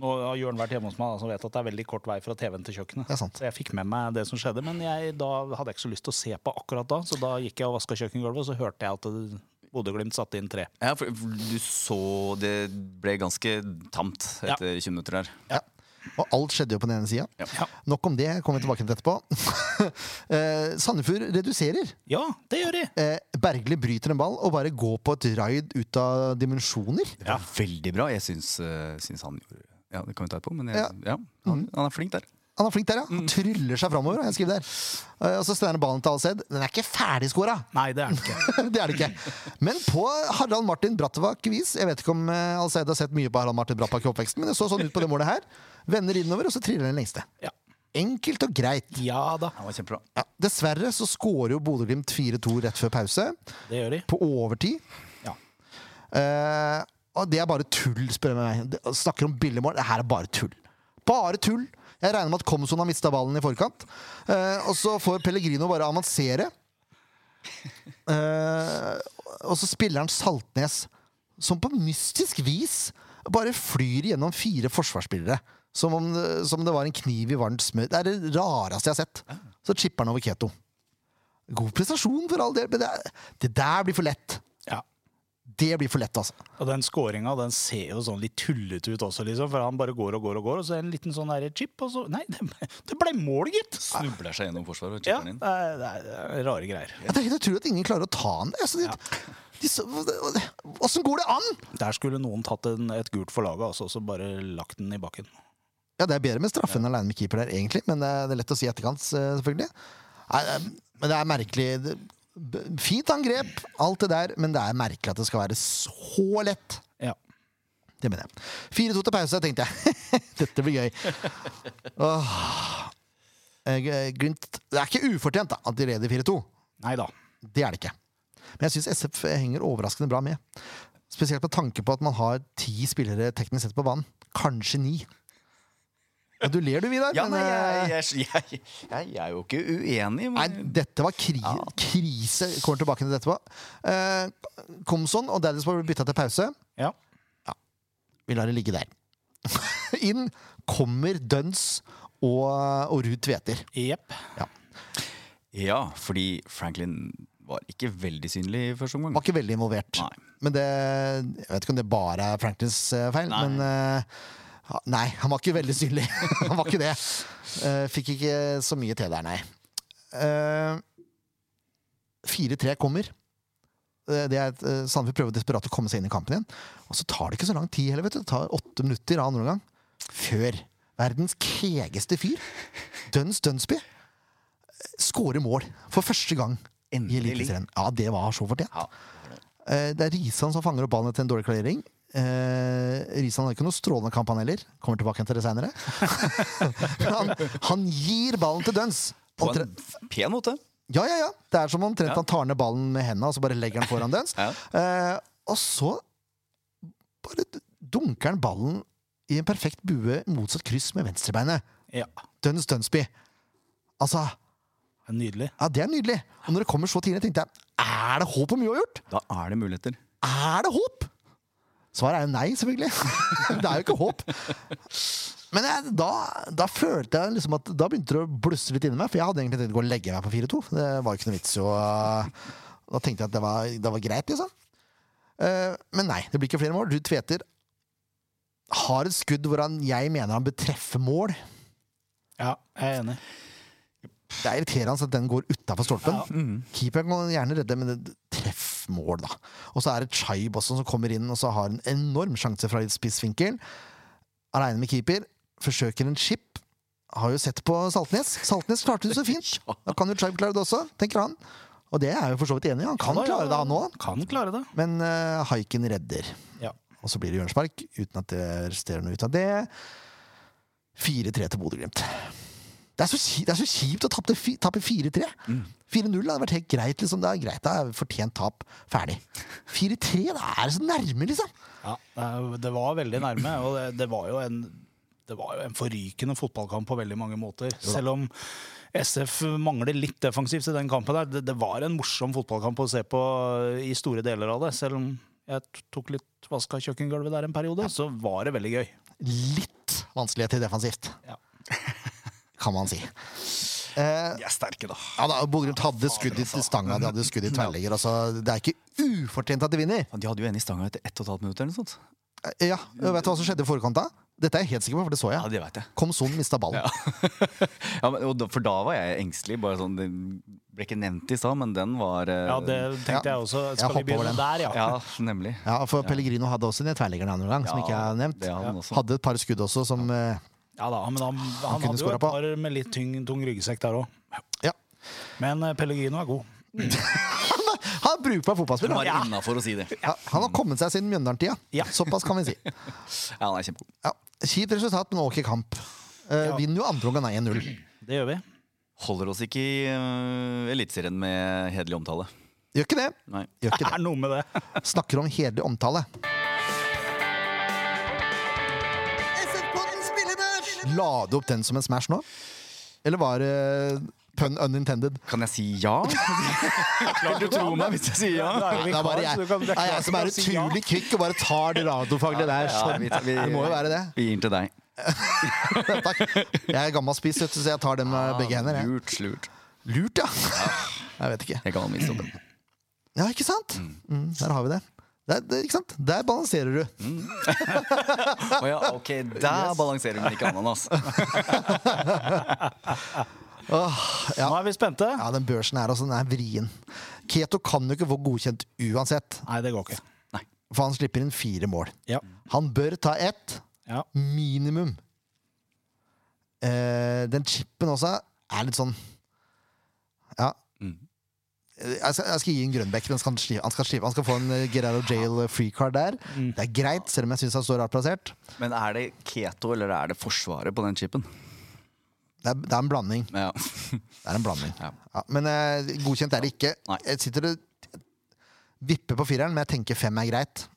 Speaker 2: Nå har Jørn vært hjemme hos meg, da, så vet at det er veldig kort vei fra TV-en til kjøkkenet.
Speaker 1: Det er sant.
Speaker 2: Så jeg fikk med meg det som skjedde, men jeg, da hadde jeg ikke så lyst til å se på akkurat da, så da gikk jeg og vaska kjøkkengulvet, og så hørte jeg at det- Bodø-Glimt satte inn tre.
Speaker 3: Ja, for du så Det ble ganske tamt etter 20 minutter her.
Speaker 1: Og alt skjedde jo på den ene sida.
Speaker 2: Ja.
Speaker 1: Nok om det. Kommer vi tilbake til etterpå. eh, Sandefjord reduserer.
Speaker 2: Ja, det gjør de!
Speaker 1: Eh, Bergli bryter en ball og bare går på et raid ut av dimensjoner.
Speaker 3: Det var veldig bra. Jeg syns, eh, syns han gjorde Ja, det kan vi ta etterpå, men jeg, ja. han,
Speaker 2: Mhm.
Speaker 3: han er flink der.
Speaker 1: Han er flink der, ja. Han tryller seg framover. har jeg skrevet der. Eh, og så stender ballen til Alsed. Den er ikke ferdigskåra!
Speaker 2: Nei, det er det ikke.
Speaker 1: det er det ikke. Men på Harald Martin Brattebakk-vis Jeg vet ikke om eh, Alsed har sett mye på Harald Martin Brattebakk i oppveksten, men det så sånn ut på det målet her. Vender innover, og så triller den lengste.
Speaker 2: Ja,
Speaker 1: Enkelt og greit.
Speaker 2: ja da,
Speaker 3: Han var kjempebra.
Speaker 1: Ja, dessverre så skårer jo Bodø-Glimt 4-2 rett før pause.
Speaker 2: det gjør de.
Speaker 1: på overtid.
Speaker 2: Ja.
Speaker 1: Eh, og det er bare tull, spør du meg. Det- Snakker om billigmål. Det her er bare tull. Bare tull. Jeg regner med at Komson har mista ballen i forkant. Eh, og så får Pellegrino bare avansere. Eh, og så spiller han Saltnes, som på mystisk vis bare flyr gjennom fire forsvarsspillere. Som om det, som det var en kniv i varmt smør. Det er det rareste jeg har sett. Så chipper han over Keto. God prestasjon, for all del, men det, er- det der blir for lett.
Speaker 2: Ja.
Speaker 1: Det blir for lett, altså.
Speaker 2: Og den scoringa den ser jo sånn litt tullete ut også, liksom, for han bare går og går og går, og så er det en liten sånn der chip, og så Nei, det, det ble mål, gitt!
Speaker 3: Snubler seg gjennom forsvaret og
Speaker 2: Ja,
Speaker 3: chipper den inn.
Speaker 2: det er, det er- det er rare greier.
Speaker 1: Jeg tror- jeg tror at ingen klarer å ta han. Altså, de, de, så- hvordan går det an?!
Speaker 2: Der skulle noen tatt en, et gult for laget, altså, og så bare lagt den i bakken.
Speaker 1: Ja, Det er bedre med straffe enn aleine med keeper der, egentlig, men det er det er lett å si i etterkant, s- selvfølgelig. Nei, det er- men det er merkelig. Det- b- Fint angrep, alt det der, men det er merkelig at det skal være så lett.
Speaker 2: Ja.
Speaker 1: Det mener jeg. 4-2 til pause, tenkte jeg. Dette blir gøy. Åh. Eh, Glimt Det er ikke ufortjent da, at de leder 4-2.
Speaker 2: Nei da.
Speaker 1: Det er det ikke. Men jeg syns SF henger overraskende bra med. Spesielt med tanke på at man har ti spillere teknisk sett på banen. Kanskje ni. Ja, du ler du, Vidar.
Speaker 3: Ja,
Speaker 1: men,
Speaker 3: nei,
Speaker 1: eh,
Speaker 3: jeg, jeg, jeg, jeg, jeg er jo ikke uenig.
Speaker 1: Nei,
Speaker 3: Men
Speaker 1: dette var kri krise. Kommer tilbake til dette etterpå. Eh, Komson og Dallas ble bytta til pause.
Speaker 2: Ja.
Speaker 1: Vi lar det ligge der. Inn kommer Duns og, og Ruud Tveter.
Speaker 2: Jepp.
Speaker 3: Ja, fordi Franklin var ikke veldig synlig i første omgang.
Speaker 1: Var ikke veldig involvert.
Speaker 3: Nei.
Speaker 1: Men det, jeg vet ikke om det bare er Franklins eh, feil,
Speaker 3: Nei.
Speaker 1: men eh, ha- Nei, han var ikke veldig synlig. han var ikke det. Eh, fikk ikke så mye til der, nei. Eh, 4-3 kommer. Eh, Det er et, eh, Sandefjord prøver desperat å komme seg inn i kampen igjen. Og så tar det ikke så lang tid heller. vet du. Det tar åtte minutter av andre omgang. Før verdens kegeste fyr, Duns Dunsby, skårer mål eh, for første gang
Speaker 3: Endelig.
Speaker 1: Eliteserien. Ja, det var så fortjent.
Speaker 3: Ja.
Speaker 1: Eh, Det er Risan som fanger opp ballen etter en dårlig klarering. Eh, Risan har ikke noe strålende kamp, han heller. Kommer tilbake igjen til det seinere. han, han gir ballen til døns.
Speaker 3: På en pen måte.
Speaker 1: Ja, ja, ja. Det er som omtrent
Speaker 3: Ja.
Speaker 1: han tar ned ballen med henda og så bare legger den foran døns.
Speaker 3: Ja.
Speaker 1: Eh, og så bare d- dunker han ballen i en perfekt bue motsatt kryss med venstrebeinet.
Speaker 2: Ja,
Speaker 1: Dønns Dønsby. Altså,
Speaker 2: Nydelig.
Speaker 1: ja, det er nydelig. Og når det kommer så tidlig, tenkte jeg er det håp om uavgjort?
Speaker 3: Da er det muligheter.
Speaker 1: Er det håp? Svaret er jo nei, selvfølgelig. det er jo ikke håp. Men jeg, da, da følte jeg liksom at Da begynte det å blusse litt inni meg, for jeg hadde egentlig tenkt å gå og legge meg på 4-2. Det var jo ikke noe vits i å Da tenkte jeg at det var, det var greit, liksom. Eh, men nei, det blir ikke flere mål. Ruud Tveter har et skudd hvor han, jeg mener han bør treffe mål.
Speaker 2: Ja, jeg er enig.
Speaker 1: Det er irriterende at den går utafor stolpen. Keeperen kan gjerne redde, men det treff mål, da. Og så er det Chaib også som kommer inn og så har en enorm sjanse fra litt spissvinkel. Aleine med keeper. Forsøker en chip. Har jo sett på Saltnes. Saltnes klarte det så fint! Da kan jo Chaib klare det også, tenker han. Og det er jeg jo for så vidt enig i. Han kan
Speaker 2: Ja, ja,
Speaker 1: klare det, han òg.
Speaker 2: Kan klare det.
Speaker 1: Men eh, haiken redder.
Speaker 2: Ja.
Speaker 1: Og så blir det hjørnespark, uten at det resterer noe ut av det. 4-3 til Bodø-Glimt. Det, er så ki- det er så kjipt å tappe fi- tappe 4-3.
Speaker 2: Mm.
Speaker 1: 4-0 hadde vært helt greit. Liksom. Det er greit, det er fortjent tap. Ferdig. 4-3, det er så nærme, liksom!
Speaker 2: Ja, eh, det var veldig nærme, og det, det var jo en det var jo en forrykende fotballkamp på veldig mange måter. Selv om SF mangler litt defensivt i den kampen. der, Det, det var en morsom fotballkamp å se på eh, i store deler av det. Selv om jeg t- tok litt vask av kjøkkengulvet der en periode, så var det veldig gøy.
Speaker 1: Litt vanskeligheter defensivt,
Speaker 2: Ja.
Speaker 1: kan man si. Eh,
Speaker 3: De er sterke, da.
Speaker 1: ja da, Bodø-Glimt hadde skudd i
Speaker 2: altså.
Speaker 1: stanga, de hadde skudd i tverrligger. Altså, det er ikke ufortjent at de vinner.
Speaker 3: Ja, De hadde jo en i stanga etter 1 12 minutter eller noe sånt.
Speaker 1: Eh, Ja, Vet du hva som skjedde i forkant da? Dette er jeg helt sikker på, for det så
Speaker 3: Ja,
Speaker 1: jeg.
Speaker 3: det vet jeg.
Speaker 1: Kom Son mista ballen.
Speaker 3: Ja. ja, men, og da, for da var jeg engstelig. Bare sånn, det ble ikke nevnt i stad, men den var eh,
Speaker 2: Ja, det tenkte jeg også. Skal
Speaker 1: hopper
Speaker 2: vi begynne
Speaker 1: over den.
Speaker 2: der, ja?
Speaker 3: ja, nemlig.
Speaker 1: Ja, for Pellegrino hadde også en tverrligger en annen gang, som
Speaker 3: Ja,
Speaker 1: ikke er nevnt.
Speaker 3: Det hadde han også.
Speaker 1: Hadde et par skudd også som eh,
Speaker 2: Ja da, men han, han,
Speaker 1: kunne
Speaker 2: hadde jo
Speaker 1: skåret
Speaker 2: et
Speaker 1: på.
Speaker 2: par med litt tyng, tung ryggsekk der òg.
Speaker 1: Ja.
Speaker 2: Men eh, Pellegrino er god.
Speaker 1: Han er brukbar
Speaker 3: Den
Speaker 1: fotballspiller!
Speaker 3: var
Speaker 1: Ja.
Speaker 3: innafor å si det.
Speaker 1: Han har kommet seg siden Mjøndalen-tida.
Speaker 2: Ja.
Speaker 1: Såpass kan vi si.
Speaker 3: Ja, han er kjempegod.
Speaker 1: Ja. Kjipt resultat, men ok kamp. Eh,
Speaker 2: Ja.
Speaker 1: Vinner jo andre omgang 1-0.
Speaker 2: Det gjør vi.
Speaker 3: Holder oss ikke i uh, Eliteserien med hederlig omtale.
Speaker 1: Gjør ikke det.
Speaker 3: Nei.
Speaker 1: Gjør
Speaker 2: Det
Speaker 1: ikke
Speaker 2: er noe med det.
Speaker 1: det. Snakker om hederlig omtale. La du opp den som en smash nå? Eller var det pun unintended?
Speaker 3: Kan jeg si ja? Klart du tror meg hvis jeg sier
Speaker 2: Du
Speaker 3: ja.
Speaker 2: er
Speaker 1: Det
Speaker 2: jo
Speaker 1: er
Speaker 2: vikar,
Speaker 1: bare
Speaker 2: så
Speaker 1: jeg,
Speaker 2: du kan-
Speaker 1: det er jeg som er
Speaker 2: klart du kan si ja.
Speaker 1: utrolig kvikk og bare tar det radiofaglige der.
Speaker 3: Ja, vi, vi,
Speaker 1: Det må jo være det.
Speaker 3: Vi gir den til deg.
Speaker 1: Takk. Jeg er gammel spiss, vet du, så jeg tar den med begge hender. Jeg.
Speaker 3: Lurt, lurt.
Speaker 1: Lurt, ja. Jeg vet ikke.
Speaker 3: Jeg kan vise opp den.
Speaker 1: Ja, ikke sant? Mm, der har vi det. Der, der, ikke sant? der balanserer du.
Speaker 3: Å ja, ok, der balanserer hun ikke ananas.
Speaker 1: Åh, ja.
Speaker 2: Nå er vi spente.
Speaker 1: ja, den børsen her også, den er vrien. Keto kan jo ikke få godkjent uansett,
Speaker 2: Nei, det går ikke.
Speaker 3: Nei.
Speaker 1: for han slipper inn fire mål.
Speaker 2: Ja.
Speaker 1: Han bør ta ett,
Speaker 2: Ja.
Speaker 1: minimum. Eh, den chipen også er litt sånn Ja.
Speaker 3: Mm.
Speaker 1: Eh, Jeg skal, jeg skal gi en Grønbæk. Den skal han, slippe, han, skal slippe, han skal få en eh, Gerardo Jail freecard der.
Speaker 3: Mm.
Speaker 1: Det er greit, selv om jeg syns han står rart plassert.
Speaker 3: Men er det keto eller er det Forsvaret på den chipen?
Speaker 1: Det er, det er en blanding.
Speaker 3: Ja.
Speaker 1: Det er en blanding.
Speaker 3: Ja.
Speaker 1: Ja, men eh, godkjent er det ikke.
Speaker 3: Nei.
Speaker 1: Jeg sitter og vipper på fireren, men jeg tenker fem er greit.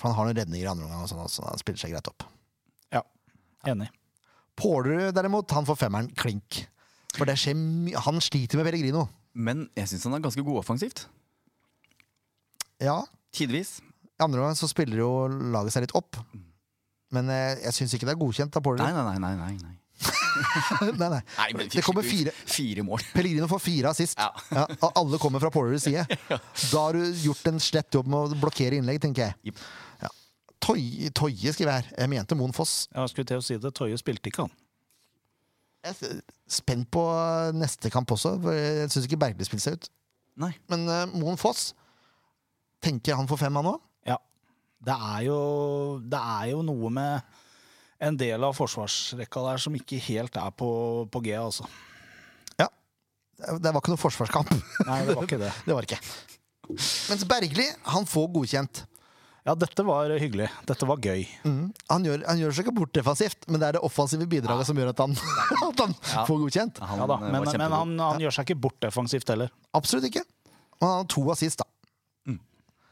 Speaker 1: For han har noen redninger i andre omgang, og sånn, så han spiller seg greit opp.
Speaker 2: ja. Enig.
Speaker 1: Pålerud derimot, han får femmeren klink. For det skjer mye Han sliter med Pellegrino.
Speaker 3: Men jeg syns han er ganske god offensivt.
Speaker 1: Ja,
Speaker 3: Tidvis.
Speaker 1: I andre omgang så spiller jo laget seg litt opp. Men eh, jeg syns ikke det er godkjent av
Speaker 3: Nei,
Speaker 1: Pålerud.
Speaker 3: nei, nei. nei, nei, nei.
Speaker 1: Nei, nei.
Speaker 3: men
Speaker 1: Det kommer fire.
Speaker 3: fire mål.
Speaker 1: Pellegrino får fire assist,
Speaker 3: Ja.
Speaker 1: ja, og alle kommer fra Påleruds side. Da har du gjort en slett jobb med å blokkere innlegg, tenker jeg.
Speaker 3: Jipp.
Speaker 1: Ja. Toye, Toye skriver jeg her. Jeg mente Moen Foss.
Speaker 2: Jeg skulle til å si det. Toje spilte ikke, han.
Speaker 1: Jeg er spent på eh, neste kamp også. for Jeg syns ikke Bergli spilte seg ut.
Speaker 3: Nei.
Speaker 1: Men eh, Moen Foss tenker jeg han får fem, han òg.
Speaker 2: Ja. Det er jo, det er jo noe med en del av forsvarsrekka der som ikke helt er på, på G, altså.
Speaker 1: Det var ikke noe forsvarskamp.
Speaker 2: Nei, det var ikke det.
Speaker 1: Det var det ikke. Mens Bergli, han får godkjent.
Speaker 2: Ja, dette var hyggelig. Dette var gøy.
Speaker 1: Mm. Han, gjør, han gjør seg ikke bort defensivt, men det er det offensive bidraget som gjør at han, at han
Speaker 3: Ja.
Speaker 1: får godkjent.
Speaker 3: Han,
Speaker 2: Ja da,
Speaker 3: eh, var
Speaker 2: men, men
Speaker 3: kjempegod.
Speaker 2: han, han gjør seg ikke bort defensivt heller.
Speaker 1: Absolutt ikke. Og han har to assist, da.
Speaker 3: Mm.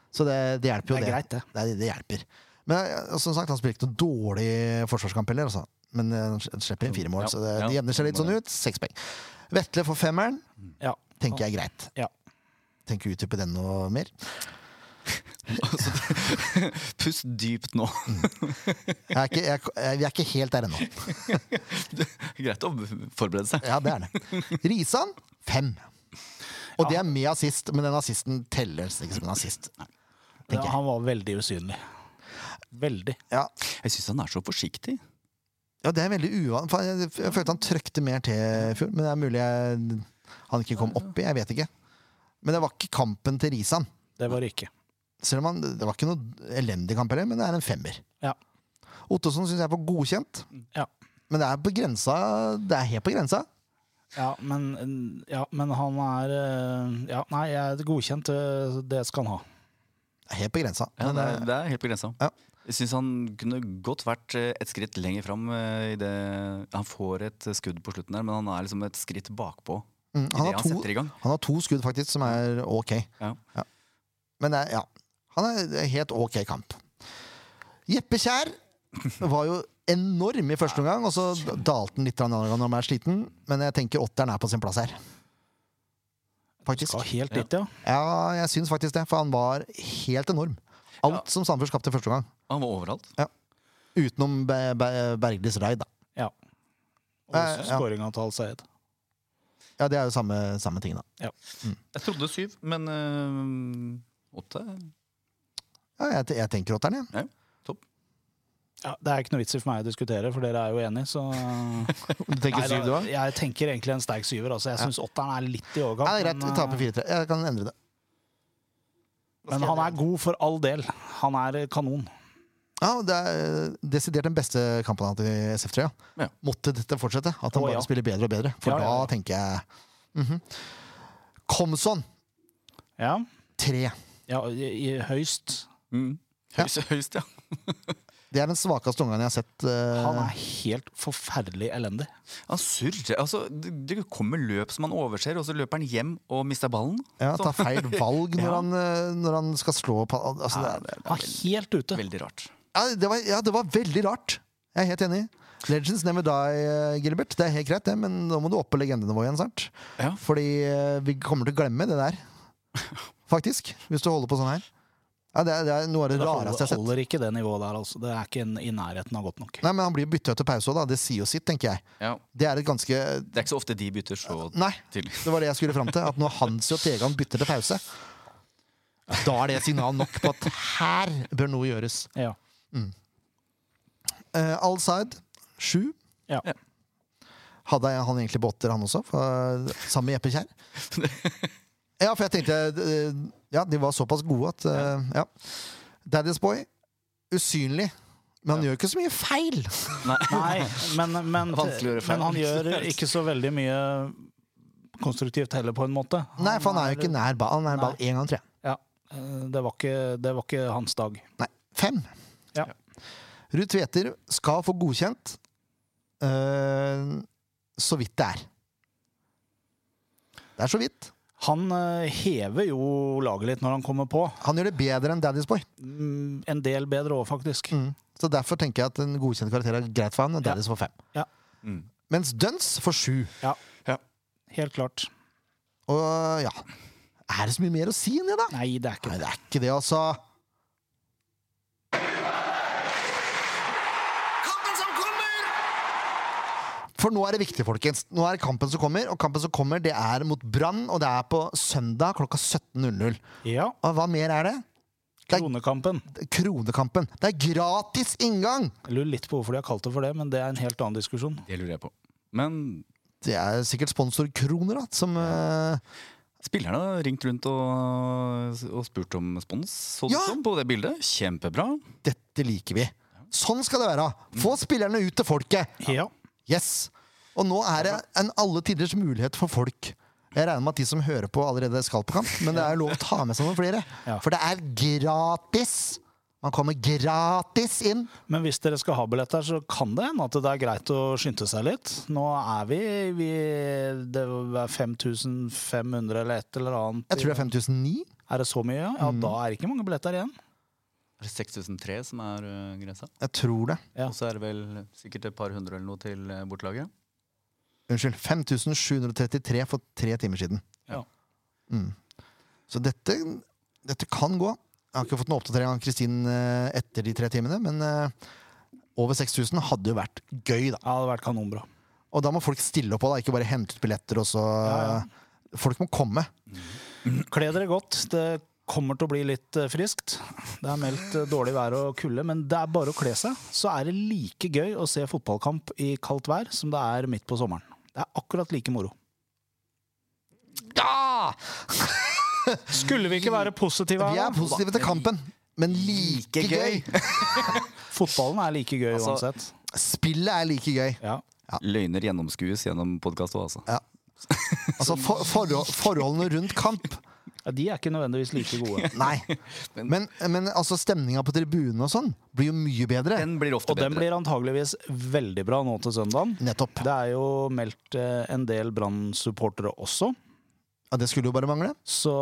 Speaker 1: Så det, det hjelper jo,
Speaker 2: Det
Speaker 1: det.
Speaker 2: er greit, det.
Speaker 1: Det, er- det hjelper. Men eh, som sagt, han spiller ikke noe dårlig forsvarskamp heller, altså. Men eh, han slipper inn fire mål,
Speaker 3: Ja,
Speaker 1: så det,
Speaker 3: ja.
Speaker 1: det jevner seg litt sånn ut. Seks poeng. Vetle får femmeren,
Speaker 2: Ja.
Speaker 1: tenker jeg er greit.
Speaker 2: Ja.
Speaker 1: Tenker utdype den noe mer.
Speaker 3: Pust dypt nå.
Speaker 1: Jeg er ikke, jeg, jeg, vi er ikke helt der ennå.
Speaker 3: Greit å forberede seg.
Speaker 1: Ja, det er det. Risan fem. Og det er med assist, men den assisten teller ikke som en assist. tenker jeg.
Speaker 2: Han var veldig usynlig. Veldig.
Speaker 1: Ja,
Speaker 3: Jeg syns han er så forsiktig.
Speaker 1: ja det er veldig uvan... faen, Jeg, jeg følte han trøkte mer til i fjor, men det er mulig jeg, han ikke kom oppi. Jeg vet ikke. Men det var ikke kampen til Risan.
Speaker 2: Det var det ikke.
Speaker 1: Selv om han, Det var ikke noe elendig kamp heller, men det er en femmer.
Speaker 2: Ja.
Speaker 1: Ottosson syns jeg får godkjent,
Speaker 2: Ja.
Speaker 1: men det er på grensa Det er helt på grensa.
Speaker 2: Ja, men, ja, men han er eh, Ja, nei, jeg er godkjent. eh, Det skal han ha.
Speaker 1: Det er Helt på grensa.
Speaker 3: Ja,
Speaker 1: Men, eh,
Speaker 3: det, er, det er helt på grensa.
Speaker 1: Ja.
Speaker 3: Jeg syns han kunne godt vært eh, et skritt lenger fram. eh, I det, han får et skudd på slutten der, men han er liksom et skritt bakpå
Speaker 1: eh, mm,
Speaker 3: i det
Speaker 1: han har
Speaker 3: han
Speaker 1: to,
Speaker 3: setter i gang.
Speaker 1: Han har to skudd faktisk som er ok.
Speaker 3: Ja.
Speaker 1: Men det er, ja, han er det er helt ok kamp. Jeppe Kjær var jo enorm i første omgang, og så dalte han litt grann andre gang når han er sliten. Men jeg tenker åtteren er på sin plass her. Faktisk.
Speaker 2: Skal helt dit, ja.
Speaker 1: Ja, jeg syns faktisk det, for han var helt enorm. Alt
Speaker 3: Ja.
Speaker 1: som Sandefjord skapte første omgang.
Speaker 3: Han var overalt.
Speaker 1: Utenom Be Be Berglis raid, da.
Speaker 2: ja.
Speaker 1: Eh,
Speaker 2: Og
Speaker 1: ja.
Speaker 2: skåringa til Al-Sayed.
Speaker 1: Ja, det er jo samme, samme ting, da.
Speaker 3: Jeg trodde syv, men eh, åtte
Speaker 1: Ja, jeg, te- jeg tenker åtteren, jeg.
Speaker 2: Ja, det er ikke noe vits i for meg å diskutere, for dere er jo enige, så
Speaker 1: Du tenker
Speaker 2: Nei, da,
Speaker 1: syv, du òg?
Speaker 2: Jeg tenker egentlig en sterk syver. Altså. Jeg syns åtteren er litt i overkant.
Speaker 1: Ja, det er greit. Vi
Speaker 2: men, eh,
Speaker 1: taper 4-3. Jeg kan endre det.
Speaker 2: men han er god for all del. Han er eh, kanon.
Speaker 1: Ja, og det er eh, desidert den beste kampen han har hatt i SF3. Ja.
Speaker 3: Ja.
Speaker 1: Måtte dette fortsette. At han
Speaker 2: Å,
Speaker 1: bare
Speaker 2: ja.
Speaker 1: spiller bedre og bedre. For
Speaker 2: Ja, ja, ja.
Speaker 1: da tenker jeg mhm. Komson,
Speaker 2: Ja,
Speaker 1: tre.
Speaker 2: ja i, i høyst.
Speaker 3: Mm.
Speaker 1: Ja.
Speaker 3: Høyst, høyst, ja.
Speaker 1: Det er den svakeste omgangen jeg har sett. eh,
Speaker 2: Han er helt forferdelig elendig.
Speaker 3: Han surrer. Altså, det, det kommer løp som han overser, og så løper han hjem og mister ballen.
Speaker 1: ja,
Speaker 3: Så-
Speaker 1: tar feil valg når,
Speaker 2: Ja.
Speaker 1: han, eh, når han skal slå på altså,
Speaker 3: Ja,
Speaker 1: det,
Speaker 3: det,
Speaker 1: er,
Speaker 2: Han
Speaker 3: det
Speaker 2: er
Speaker 3: er veldig,
Speaker 2: helt ute.
Speaker 3: veldig rart.
Speaker 1: ja, det var, ja, det var veldig rart. Jeg er helt enig. Legends never die, eh, Gilbert. Det er helt greit, det, men nå må du opp på legendenivået igjen snart.
Speaker 3: Ja.
Speaker 1: Fordi eh, vi kommer til å glemme det der, faktisk. Hvis du holder på sånn her. Ja, det, er, det er noe av det
Speaker 2: Det
Speaker 1: rareste jeg har
Speaker 2: holder,
Speaker 1: sett.
Speaker 2: holder ikke det nivået der, altså. Det er ikke en, i nærheten av godt nok.
Speaker 1: Nei, men han blir bytta til pause òg, da. Det sier jo sitt, tenker jeg.
Speaker 3: Ja.
Speaker 1: Det er et ganske
Speaker 3: Det er ikke så ofte de bytter så
Speaker 1: Nei,
Speaker 3: tidlig.
Speaker 1: det var det jeg skulle fram til. At når Hansi og Tegan bytter til pause, da er det signal nok på at her bør noe gjøres.
Speaker 2: Ja.
Speaker 1: Uh, Alside, sju.
Speaker 2: Ja.
Speaker 1: Hadde jeg han egentlig på åtter, han også? For, sammen med Jeppe Kjær. Ja, for jeg tenkte eh, Ja, de var såpass gode at eh, Ja. Daddy's Boy, usynlig. Men han gjør ikke så mye feil.
Speaker 2: Nei, men, men,
Speaker 3: Vanskelig å gjøre feil.
Speaker 2: men han gjør ikke så veldig mye konstruktivt heller, på en måte.
Speaker 1: Nei, for han er jo ikke nær ball. Han er nær
Speaker 2: Nei.
Speaker 1: ball én gang, tror jeg.
Speaker 2: Ja, eh, det var ikke, det var ikke hans dag.
Speaker 1: Nei, fem.
Speaker 2: Ja.
Speaker 1: Ruud Tveter skal få godkjent eh, så vidt det er. Det er så vidt.
Speaker 2: Han eh, hever jo laget litt når han kommer på.
Speaker 1: Han gjør det bedre enn Daddy's Boy.
Speaker 2: Mm, En del bedre òg, faktisk.
Speaker 1: Mm. Så derfor tenker jeg at en godkjent karakter er greit for han, og
Speaker 2: Ja.
Speaker 1: Daddy's får fem.
Speaker 2: Ja.
Speaker 3: Mm.
Speaker 1: Mens Duns får sju.
Speaker 2: Helt klart.
Speaker 1: Og ja Er det så mye mer å si enn det, da?
Speaker 2: Nei, det er ikke
Speaker 1: Nei,
Speaker 2: det.
Speaker 1: det er ikke det, altså. For nå er det viktig, folkens. Nå er det kampen som kommer, og kampen som kommer, det er mot Brann, og det er på søndag klokka 17.00.
Speaker 2: Ja,
Speaker 1: Og hva mer er det? Det er
Speaker 2: Kronekampen.
Speaker 1: Kronekampen. Det er gratis inngang!
Speaker 2: Jeg lurer litt på hvorfor de har kalt det for det, men det er en helt annen diskusjon.
Speaker 3: Det lurer jeg på. Men
Speaker 1: Det er sikkert sponsorkroner, da, som eh,
Speaker 3: spillerne har ringt rundt og, og spurt om spons, så det
Speaker 1: Ja.
Speaker 3: som, på det bildet. Kjempebra.
Speaker 1: Dette liker vi. Sånn skal det være. Få spillerne ut til folket.
Speaker 2: Ja.
Speaker 1: Yes. Og nå er det en alle tiders mulighet for folk. Jeg regner med at de som hører på, allerede skal på kamp, men det er jo lov å ta med seg noen flere.
Speaker 2: Ja.
Speaker 1: For det er gratis! Man kommer gratis inn!
Speaker 2: Men hvis dere skal ha billetter, så kan det hende at det er greit å skynde seg litt. Nå er vi, vi Det er 5500 eller et eller annet.
Speaker 1: Jeg tror det er Mm. 5009.
Speaker 2: Er det så mye? Ja, ja da er det ikke mange billetter igjen.
Speaker 3: Er det 6003 som er eh, grensa?
Speaker 1: Jeg tror det.
Speaker 2: Ja.
Speaker 3: Og så er det vel sikkert et par hundre eller noe til eh, bortelaget.
Speaker 1: Unnskyld. 5733 for tre timer siden.
Speaker 2: Ja.
Speaker 1: Mm. Så dette, dette kan gå. Jeg har ikke fått noen oppdatering av Kristin eh, etter de tre timene, men eh, over 6000 hadde jo vært gøy, da.
Speaker 2: Ja, det hadde vært kanonbra.
Speaker 1: Og da må folk stille opp, da, ikke bare hente ut billetter. og så...
Speaker 2: Ja, ja.
Speaker 1: Folk må komme.
Speaker 2: Kle dere godt. Det kommer til å bli litt eh, friskt. Det er meldt eh, dårlig vær og kulde, men det er bare å kle seg. Så er det like gøy å se fotballkamp i kaldt vær som det er midt på sommeren. Det er akkurat like moro.
Speaker 1: Ja!
Speaker 2: Skulle vi ikke være positive?
Speaker 1: Vi
Speaker 2: her,
Speaker 1: er
Speaker 2: da?
Speaker 1: positive til kampen, men like gøy!
Speaker 2: Fotballen er like gøy
Speaker 3: Altså-
Speaker 2: uansett.
Speaker 1: Spillet er like gøy.
Speaker 2: Ja.
Speaker 3: Løgner gjennomskues gjennom podkast òg, altså.
Speaker 1: Ja. Altså for, forhold, forholdene rundt kamp.
Speaker 2: Ja, de er ikke nødvendigvis like gode.
Speaker 1: Nei. Men, men altså stemninga på tribunene og sånn blir jo mye bedre.
Speaker 3: Den blir ofte
Speaker 2: Og den
Speaker 3: bedre.
Speaker 2: blir antageligvis veldig bra nå til søndagen.
Speaker 1: Nettopp.
Speaker 2: Det er jo meldt eh, en del Brann-supportere også,
Speaker 1: Ja, det skulle jo bare mangle.
Speaker 2: så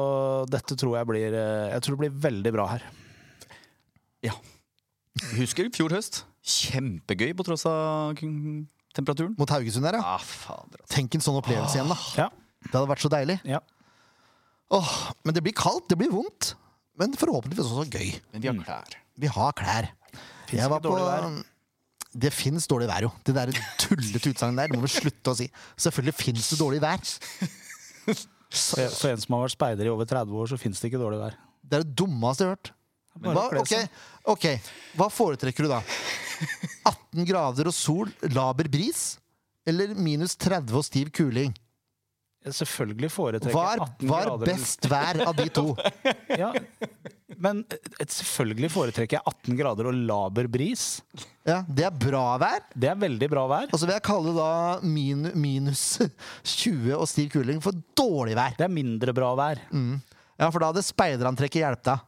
Speaker 2: dette tror jeg blir eh, Jeg tror det blir veldig bra her.
Speaker 3: Husker fjor høst. Kjempegøy på tross av kun- temperaturen.
Speaker 1: Mot Haugesund her, ja.
Speaker 3: Ah, fader, altså.
Speaker 1: Tenk en sånn opplevelse igjen, da.
Speaker 2: Ja,
Speaker 1: Det hadde vært så deilig.
Speaker 2: ja.
Speaker 1: Åh, men det blir kaldt, det blir vondt. Men forhåpentligvis også gøy.
Speaker 3: Men vi har klær.
Speaker 1: Vi har klær.
Speaker 2: Finnes
Speaker 1: Jeg
Speaker 2: ikke
Speaker 1: var på-
Speaker 2: dårlig vær.
Speaker 1: Det fins dårlig vær, jo. Det der tullete utsagnet der det må vi slutte å si. Selvfølgelig fins det dårlig vær.
Speaker 2: For, for en som har vært speider i over 30 år, så fins det ikke dårlig vær.
Speaker 1: Det er det dummeste jeg har hørt.
Speaker 2: Bare
Speaker 1: Hva,
Speaker 2: å kle
Speaker 1: ok,
Speaker 2: seg.
Speaker 1: ok, hva foretrekker du da? 18 grader og sol, laber bris? Eller minus 30 og stiv kuling?
Speaker 2: Jeg Selvfølgelig foretrekker
Speaker 1: Hva er,
Speaker 2: 18
Speaker 1: hva er
Speaker 2: grader.
Speaker 1: best vær av de to?
Speaker 2: Ja. Men eh, selvfølgelig foretrekker jeg 18 grader og laber bris.
Speaker 1: Ja, det er bra vær.
Speaker 2: Det er veldig bra vær.
Speaker 1: Og så vil jeg kalle da min, minus 20 og stiv kuling for dårlig vær.
Speaker 2: Det er mindre bra vær.
Speaker 1: Ja, for da hadde speiderantrekket hjulpet deg.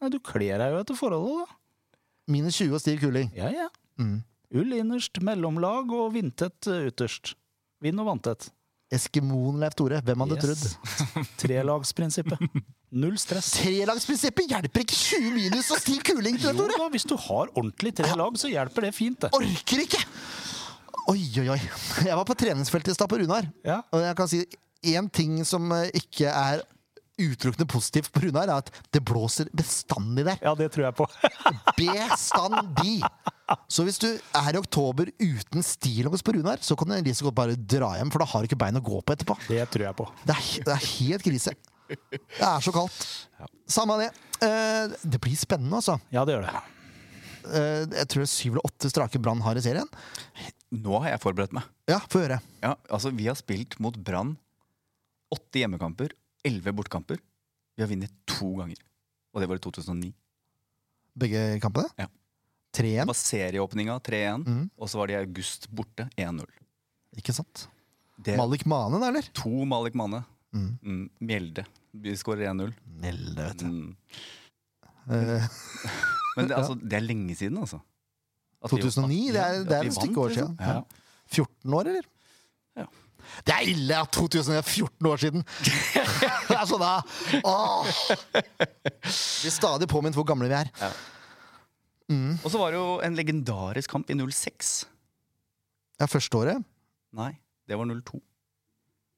Speaker 2: Nei, du kler deg jo etter forholdet, da.
Speaker 1: Minus 20 og stiv kuling.
Speaker 2: Ja, ja. Ull innerst, mellomlag og vindtett eh, ytterst. Vind og vanntett.
Speaker 1: Eskimoen Leif Tore, hvem hadde trodd?
Speaker 2: trodd. Trelagsprinsippet. Null stress.
Speaker 1: Trelagsprinsippet hjelper ikke 20 minus og stiv kuling!
Speaker 2: Jo
Speaker 1: Tore, Tore.
Speaker 2: da, hvis du har ordentlig tre lag, så hjelper det fint, det.
Speaker 1: Orker ikke! Oi, oi, oi. Jeg var på treningsfeltet i stad på Runar.
Speaker 2: Ja.
Speaker 1: Og jeg kan si én ting som eh, ikke er utelukkende positivt på Runar, er at det blåser bestandig der.
Speaker 2: Ja, det tror jeg på.
Speaker 1: Bestandig! Så hvis du er i oktober uten stillongs på Runar, så kan du like så godt bare dra hjem, for da har du ikke bein å gå på etterpå.
Speaker 2: Det tror jeg på.
Speaker 1: Det er, he- det er helt krise. Det er så kaldt. Samme av det. Eh, Det blir spennende, altså.
Speaker 2: Ja, det gjør det.
Speaker 1: Eh, Jeg tror det er syv eller åtte strake Brann har i serien.
Speaker 3: Nå har jeg forberedt meg.
Speaker 1: Ja, få høre.
Speaker 3: Ja, altså Vi har spilt mot Brann åtte hjemmekamper, elleve bortekamper. Vi har vunnet to ganger. Og det var i 2009.
Speaker 1: Begge kampene?
Speaker 3: Ja.
Speaker 1: 3-1.
Speaker 3: Det var serieåpninga 3-1,
Speaker 1: Mhm.
Speaker 3: og så var det i august borte 1-0.
Speaker 1: Ikke sant?
Speaker 3: Det er
Speaker 1: Malik Mane, da, eller?
Speaker 3: to Malik Mane.
Speaker 1: Mhm.
Speaker 3: Mm, Mjelde. Vi skårer 1-0.
Speaker 1: Nelle, vet
Speaker 3: Mm.
Speaker 1: Eh,
Speaker 3: Men det, altså, det er lenge siden, altså. At vi-
Speaker 1: 2009, det er-
Speaker 3: Ja,
Speaker 1: det er
Speaker 3: at vi
Speaker 1: et stykke år
Speaker 3: vant,
Speaker 1: siden.
Speaker 3: liksom. Ja.
Speaker 1: 14 år, eller?
Speaker 3: Ja.
Speaker 1: Det er ille at 2000 er 14 år siden! det er sånn, da! Åh! Blir stadig påminnet hvor gamle vi er.
Speaker 3: Og så var det jo en legendarisk kamp i 06.
Speaker 1: Ja, første året.
Speaker 3: Nei, det var 02.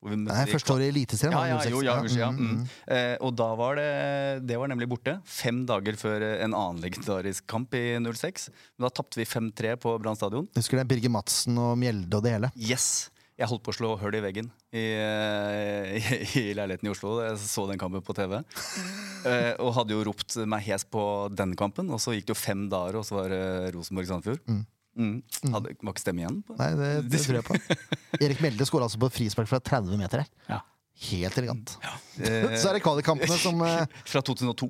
Speaker 3: Hvor vi
Speaker 1: Nei,
Speaker 3: møtte-
Speaker 1: første året i Eliteserien.
Speaker 3: Ja,
Speaker 1: var
Speaker 3: ja,
Speaker 1: 06.
Speaker 3: jo, ja, unnskyld, ja.
Speaker 1: mm,
Speaker 3: Mm.
Speaker 1: mm.
Speaker 3: Eh, og da var det Det var nemlig borte. Fem dager før eh, en annen legendarisk kamp i 06. Men da tapte vi 5-3 på Brann stadion.
Speaker 1: Husker du det? Birger Madsen og Mjelde og det hele.
Speaker 3: Yes! Jeg holdt på å slå hull i veggen i, eh, i, i leiligheten i Oslo. Jeg så den kampen på TV. Eh, og hadde jo ropt meg hes på den kampen. Og så gikk det jo fem dager, og så var det Rosenborg-Sandefjord. Mm. Hadde, var ikke stemme igjen? På.
Speaker 1: Nei, det, det tror jeg på. Erik Mjelde skåra altså på frispark fra 30 meter her.
Speaker 2: Ja.
Speaker 1: Helt elegant.
Speaker 3: Eh,
Speaker 1: Så er det kvalikkampene som eh, Mm.
Speaker 3: Fra 2002.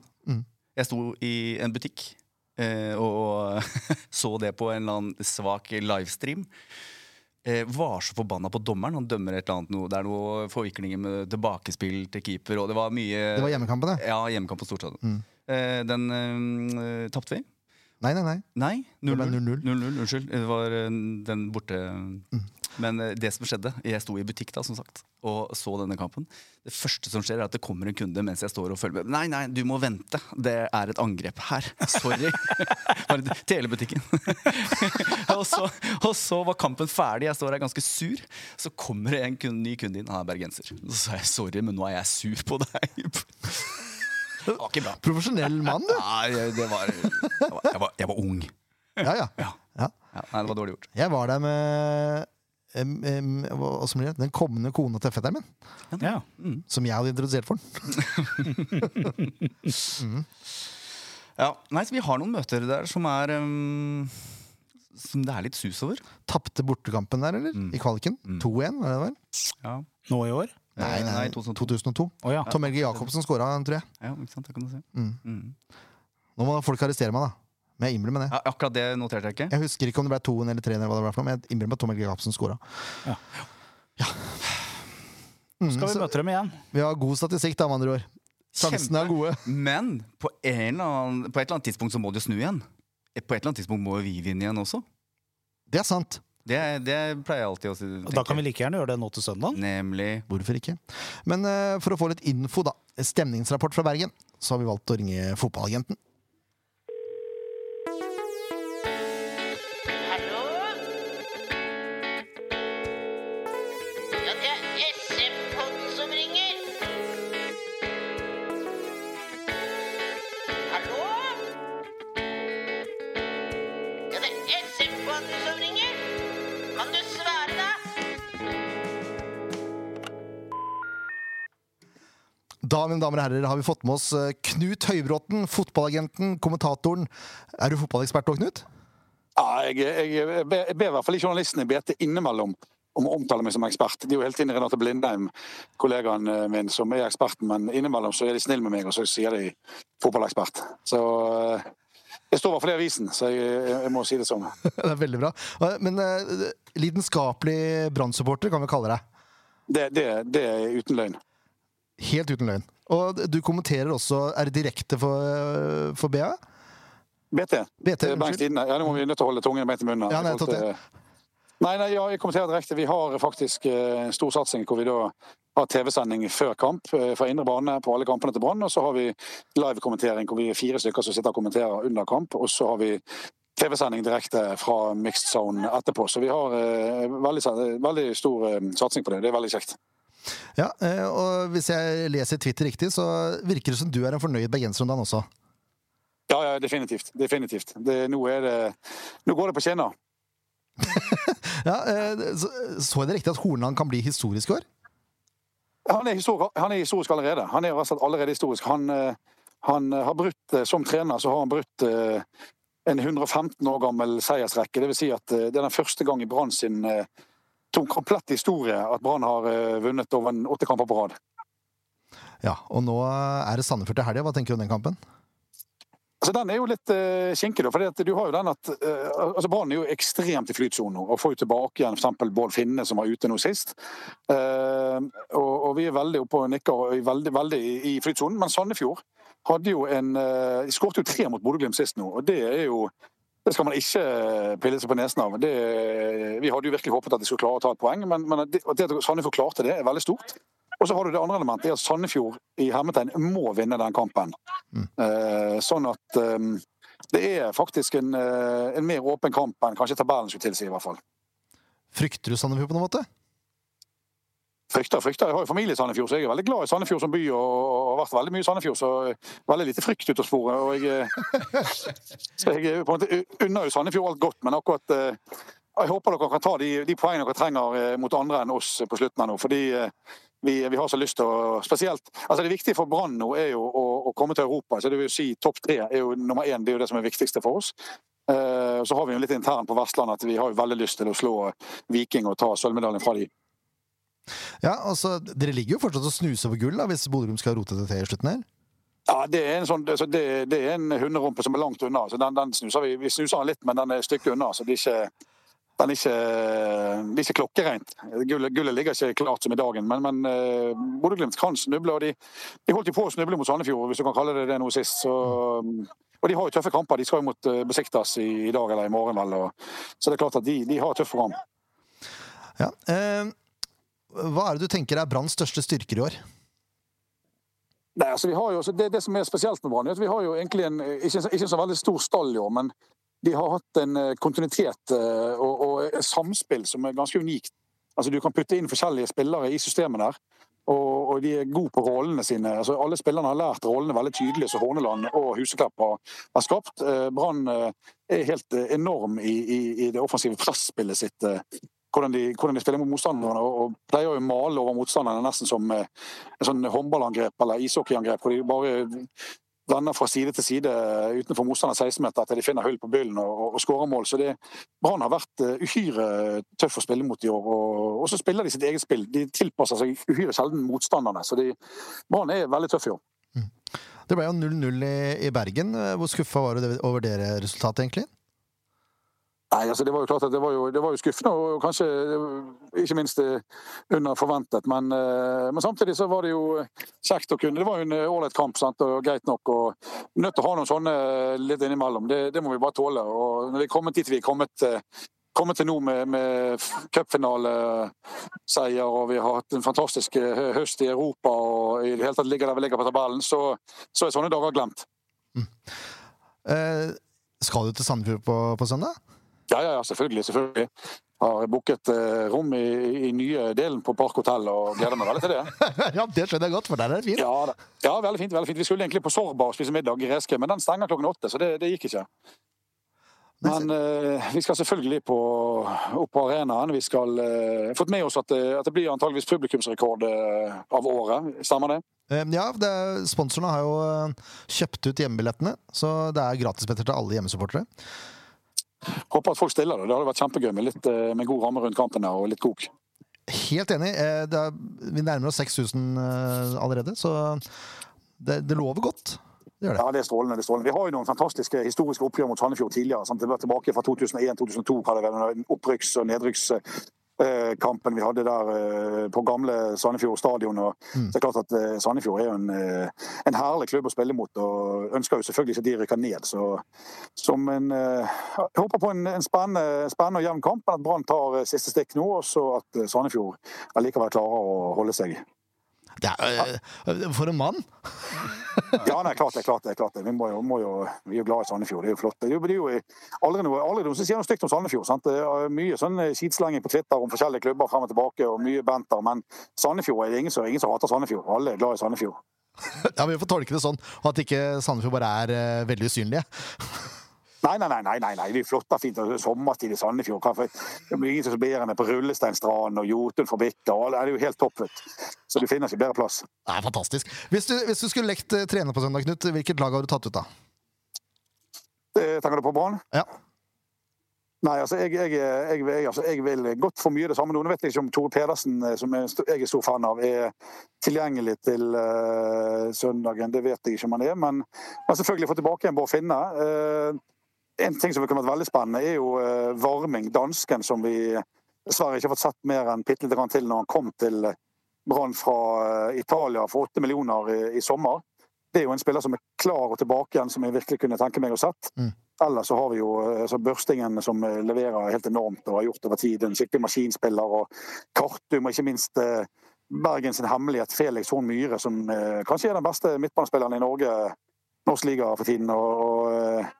Speaker 3: Jeg sto i en butikk eh, og, og så det på en eller annen svak livestream. eh, var så forbanna på dommeren. Han dømmer et eller annet noe. Det er noe forviklinger med tilbakespill til keeper, og det var mye
Speaker 1: Det var Mm. hjemmekampen, det.
Speaker 3: Ja, hjemmekamp på Storstadion. Eh, den eh, tapte vi.
Speaker 1: Nei, nei, nei.
Speaker 3: Nei,
Speaker 1: Det ble
Speaker 3: 0-0.
Speaker 1: 0-0.
Speaker 3: 0-0, Unnskyld. Det var eh, den borte Men eh, det som skjedde Jeg sto i butikk da, som sagt, og så denne kampen. Det første som skjer, er at det kommer en kunde mens jeg står og følger med. Nei, nei, du må vente. Det er et angrep her. Sorry. Bare det- Telebutikken. og, så, og så var kampen ferdig. Jeg står her ganske sur. Så kommer det en kun- ny kunde inn. Han er bergenser. Så sa jeg sorry, men nå er jeg sur på deg. det var ikke bra.
Speaker 1: Profesjonell mann, du.
Speaker 3: Nei, jeg- det var, jeg var, jeg var, jeg var ung.
Speaker 1: Ja, ja.
Speaker 3: Ja.
Speaker 1: ja.
Speaker 3: Ja, nei, det var dårlig gjort.
Speaker 1: Jeg var der med em, em, hva hva som blir det? den kommende kona til fetteren min.
Speaker 2: Ja.
Speaker 1: Som jeg hadde introdusert for den.
Speaker 3: Ja, nei, så Vi har noen møter der som er ehm, Som det er litt sus over.
Speaker 1: Tapte bortekampen der, eller? I kvaliken. 2-1, var det det var?
Speaker 3: Ja,
Speaker 2: Nå i år?
Speaker 1: Mm. Nei,
Speaker 3: Eh,
Speaker 1: nei,
Speaker 3: nei,
Speaker 1: 2002.
Speaker 3: 2002.
Speaker 2: Å ja.
Speaker 1: Tom Helge Jacobsen skåra, tror jeg.
Speaker 3: ja ikke sant? Det kan du si. Mm.
Speaker 1: Nå må folk arrestere meg, da. Men jeg innrømmer det.
Speaker 3: Ja, akkurat det noterte jeg ikke.
Speaker 1: Jeg husker ikke om det ble 2-1 eller 3-1, eller hva det ble for noe, men jeg innrømmer at Tom Helge Jacobsen skåra.
Speaker 2: Ja.
Speaker 1: Mm,
Speaker 2: Skal vi
Speaker 1: så
Speaker 2: møte dem igjen?
Speaker 1: vi har god statistikk, da, med andre ord. Sjansene er gode.
Speaker 3: Men på, en eller annen, på et eller annet tidspunkt så må det jo snu igjen. Eh, På et eller annet tidspunkt må jo vi vinne igjen også.
Speaker 1: Det er sant.
Speaker 3: Det, det pleier jeg alltid å si.
Speaker 2: Og Da kan vi like gjerne gjøre det nå til søndag.
Speaker 3: Nemlig
Speaker 1: Hvorfor ikke? Men eh, for å få litt info, da. Stemningsrapport fra Bergen. Så har vi valgt å ringe fotballagenten.
Speaker 4: Hallo? Ja, det er SM-podden som ringer. Hallo? Ja, det er SM-podden som ringer. Kan du svare, da?
Speaker 1: Da mine damer og herrer, har vi fått med oss eh, Knut Høybråten, fotballagenten, kommentatoren. Er du fotballekspert òg, Knut?
Speaker 5: Ja, jeg, jeg, jeg ber jeg ber i hvert fall ikke journalistene i BT innimellom om å omtale meg som ekspert. Det er jo helt inn i Renate Blindheim, kollegaen eh, min, som er eksperten, men innimellom så er de snille med meg, og så sier de fotballekspert. Så eh, jeg står i hvert fall i avisen, så jeg, jeg, jeg må si det sånn.
Speaker 1: det er veldig bra. Eh, Men eh, lidenskapelig Brann-supporter kan vi kalle deg.
Speaker 5: Det, det, det er uten løgn.
Speaker 1: Helt uten løgn. Og du kommenterer også Er det direkte for, for BA?
Speaker 5: BT.
Speaker 1: BT,
Speaker 5: Eh, Bergens
Speaker 1: unnskyld.
Speaker 5: Tidende. Ja, nå må vi nødt til å holde tungen beint i munnen.
Speaker 1: Ja, nei,
Speaker 5: I forhold til- eh,
Speaker 1: tatt
Speaker 5: Nei, nei, ja, jeg kommenterer direkte. Vi har faktisk eh, en stor satsing hvor vi da har TV-sending før kamp eh, fra indre bane på alle kampene til Brann. Og så har vi live-kommentering hvor vi er fire stykker som sitter og kommenterer under kamp. Og så har vi TV-sending direkte fra mixed zone etterpå. Så vi har eh, veldig, sa- veldig stor eh, satsing på det. Det er veldig kjekt.
Speaker 1: Ja, eh, og hvis jeg leser Twitter riktig, så virker det som du er en fornøyd bergenser om dagen også.
Speaker 5: Ja, ja, definitivt. Definitivt. Det, nå, er det, nå går det på skinner.
Speaker 1: Ja, eh, så, så jeg det riktig at Hornland kan bli historisk i år?
Speaker 5: Han er, historisk, han er historisk allerede. Han er rett og slett allerede historisk. Han, eh, han eh, har brutt, eh, Som trener så har han brutt eh, en 115 år gammel seiersrekke. Det vil si at eh, det er den første gang i Brann sin eh, tom- komplette historie at Brann har eh, vunnet over en åtte kamper på rad.
Speaker 1: Ja, og nå er det Sandefjord til helga. Hva tenker du om den kampen?
Speaker 5: Altså, den er jo litt uh, kinkig, da. For du har jo den at eh, altså Brann er jo ekstremt i flytsonen nå. Og får jo tilbake igjen f.eks. Bård Finne, som var ute nå sist. Eh, og, og vi er veldig oppe og nikker og er veldig, veldig i, i flytsonen. Men Sandefjord hadde jo en eh, De skåret jo tre mot Bodø-Glimt sist nå, og det er jo det skal man ikke eh, pille seg på nesen av. Det, vi hadde jo virkelig håpet at de skulle klare å ta et poeng, men, men det, at det at Sandefjord klarte det, er veldig stort. Og så har du det andre elementet, det er at Sandefjord i hermetegn må vinne den kampen. Eh, sånn at eh, det er faktisk en, eh, en mer åpen kamp enn kanskje tabellen skulle tilsi, i hvert fall.
Speaker 1: Frykter du Sandefjord på noen måte?
Speaker 5: Frykter, frykter. Jeg har jo familie i Sandefjord, så jeg er veldig glad i Sandefjord som by. Og, og har vært veldig mye i Sandefjord, så eh, veldig lite frykt ute å spore. Og jeg, eh, så jeg er på en måte u- unner jo Sandefjord alt godt, men akkurat eh, Jeg håper dere kan ta de, de poengene dere trenger eh, mot andre enn oss på slutten her nå. fordi eh, vi, vi har så lyst til å spesielt, altså Det viktige for Brann nå er jo å, å komme til Europa. så det vil si Topp tre er jo nummer én. Det er jo det som er viktigste for oss. Eh, og så har vi jo litt intern på Vestlandet at vi har jo veldig lyst til å slå Viking og ta sølvmedaljen fra de.
Speaker 1: Ja, altså, Dere ligger jo fortsatt og snuser på gull da, hvis Bodø Glimt skal rote det til i slutten her.
Speaker 5: Ja, det er en, sånn, altså, det, det er en hunderumpe som er langt unna. Så den, den snuser vi, vi snuser den litt, men den er et stykke unna. Så det er ikke, den er ikke, det er ikke klokkereint. Gullet, gullet ligger ikke klart som i dagen, men, men eh, Bodø-Glimt kan snuble. og de, de holdt jo på å snuble mot Sandefjord, hvis du kan kalle det det nå sist. Så, og de har jo tøffe kamper. De skal jo mot eh, Besiktas i, i dag eller i morgen, vel. Og, så det er klart at de, de har et tøft program.
Speaker 1: Ja. Eh, hva er det du tenker er Branns største styrker i år?
Speaker 5: Nei, altså vi har jo, også- det, det som er spesielt med Brann, er at vi har jo egentlig en, eh, ikke, en så- ikke en så veldig stor stall i år, men de har hatt en eh, kontinuitet eh, og, og et samspill som er ganske unikt. Altså Du kan putte inn forskjellige spillere i systemet der, og, og de er gode på rollene sine. Altså Alle spillerne har lært rollene veldig tydelig, som Horneland og Huseklepp har, har skapt. Eh, Brann eh, er helt eh, enorm i, i, i det offensive presspillet sitt. eh, Hvordan de, hvordan de spiller mot motstanderne, og, og pleier å male over motstanderne nesten som eh, en sånn håndballangrep eller ishockeyangrep hvor de bare vender fra side til side utenfor motstanders 16-meter til de finner hull på byllen og, og, og skårer mål. Så det, Brann har vært eh, uhyre tøff å spille mot i år. Og, og så spiller de sitt eget spill. De tilpasser seg uhyre sjelden motstanderne. Så de- Brann er veldig tøff i år.
Speaker 1: Det ble jo 0-0 i, i Bergen. Eh, Hvor skuffa var du over det resultatet, egentlig?
Speaker 5: Nei, altså Det var jo klart at det var jo, det var jo skuffende, og kanskje eh, ikke minst eh, under forventet. Men, eh, men samtidig så var det jo eh, kjekt å kunne Det var jo en eh, ålreit kamp, sant, og greit nok. og Nødt til å ha noen sånne eh, litt innimellom. Det, det må vi bare tåle. og Når vi er kommet dit vi er kommet, eh, kommet til nå med, med f- cupfinaleseier, og vi har hatt en fantastisk eh, hø- høst i Europa, og i det hele tatt ligger der vi ligger på tabellen, så, så er sånne dager glemt.
Speaker 1: Eh, skal du til Sandefjord på, på søndag?
Speaker 5: Ja, ja, ja, selvfølgelig. selvfølgelig. Har booket eh, rom i, i nye delen på Park Hotell og gleder meg veldig til det.
Speaker 1: ja, det skjønner jeg godt, for der er det fint.
Speaker 5: Ja, da. ja, veldig fint. veldig fint. Vi skulle egentlig på Sorba og spise middag i Reske, men den stenger klokken åtte, så det, det gikk ikke. Men eh, vi skal selvfølgelig på, opp på arenaen. Vi skal eh, fått med oss at, det- at det blir antageligvis publikumsrekord eh, av året. Stemmer det?
Speaker 1: Eh, ja det, er- sponsorene har jo eh, kjøpt ut hjemmebillettene, så det er gratisbilletter til alle hjemmesupportere.
Speaker 5: Håper at folk stiller det. Det hadde vært kjempegøy med, litt, eh, med god ramme rundt kampen der og litt kok.
Speaker 1: Helt enig. Eh, det er, vi nærmer oss 6000 eh, allerede, så det, det lover godt. Det gjør det.
Speaker 5: Ja, det er strålende. det er strålende. Vi har jo noen fantastiske historiske oppgjør mot Sandefjord tidligere. Sant? Det var tilbake fra 2001-2002, kaller det vel, den opprykks- og nedrykkskampen vi hadde der eh, på gamle Sandefjord stadion. Og
Speaker 1: Mm.
Speaker 5: Det er klart at eh, Sandefjord er jo en, eh, en herlig klubb å spille mot, og ønsker jo selvfølgelig ikke at de rykker ned. Så som en eh, Jeg håper på en, en spennende, spennende og jevn kamp, men at Brann tar eh, siste stikk nå, og så at eh, Sandefjord allikevel klarer å holde seg.
Speaker 1: det er, eh, for en mann!
Speaker 5: Ja, nei, klart det. klart det, klart det. Vi, må jo, må jo, vi er jo glad i Sandefjord. Det er jo flott. Det er jo, det er jo aldri noe, aldri noen som sier noe stygt om Sandefjord. sant? Det er mye sånn skitslenging på Twitter om forskjellige klubber frem og tilbake, og mye banter. Men Sandefjord er det ingen som, ingen som hater Sandefjord. Alle er glad i Sandefjord.
Speaker 1: Ja, Vi får tolke det sånn, og at ikke Sandefjord bare er eh, veldig usynlige.
Speaker 5: Nei, nei, nei, nei, nei, nei. det er jo flott og fint. og Sommertid i Sandefjord. Hva for- Det er ingen som blir bedre enn på Rullesteinstranden og Jotun fabrikker. og alle- Det er jo helt topp. vet du. Så du finner ikke bedre plass.
Speaker 1: Det er fantastisk. Hvis du, hvis du skulle lekt eh, trener på søndag, Knut, hvilket lag har du tatt ut da?
Speaker 5: Det Eh, tenker du på Brann?
Speaker 1: Ja.
Speaker 5: Nei, altså jeg, jeg, jeg, jeg, altså jeg vil godt for mye det samme. nå. Nå vet jeg ikke om Tore Pedersen, eh, som er, st- jeg er stor fan av, er tilgjengelig til eh, søndagen. Det vet jeg ikke om han er, men, men selvfølgelig få tilbake igjen Bård Finne. Eh, en ting som kunne vært veldig spennende, er jo eh, Varming, dansken, som vi dessverre ikke har fått sett mer enn bitte lite grann til når han kom til Brann fra eh, Italia for åtte millioner i, i sommer. Det er jo en spiller som er klar og tilbake igjen, som jeg virkelig kunne tenke meg å sett. Ellers så har vi jo eh, altså Børstingen som eh, leverer helt enormt og har gjort over tid. En skikkelig maskinspiller. Og Kartum, og ikke minst eh, Bergen sin hemmelighet Felix Horn Myhre, som eh, kanskje er den beste midtbanespilleren i Norge, eh, norsk liga for tiden. og, og eh,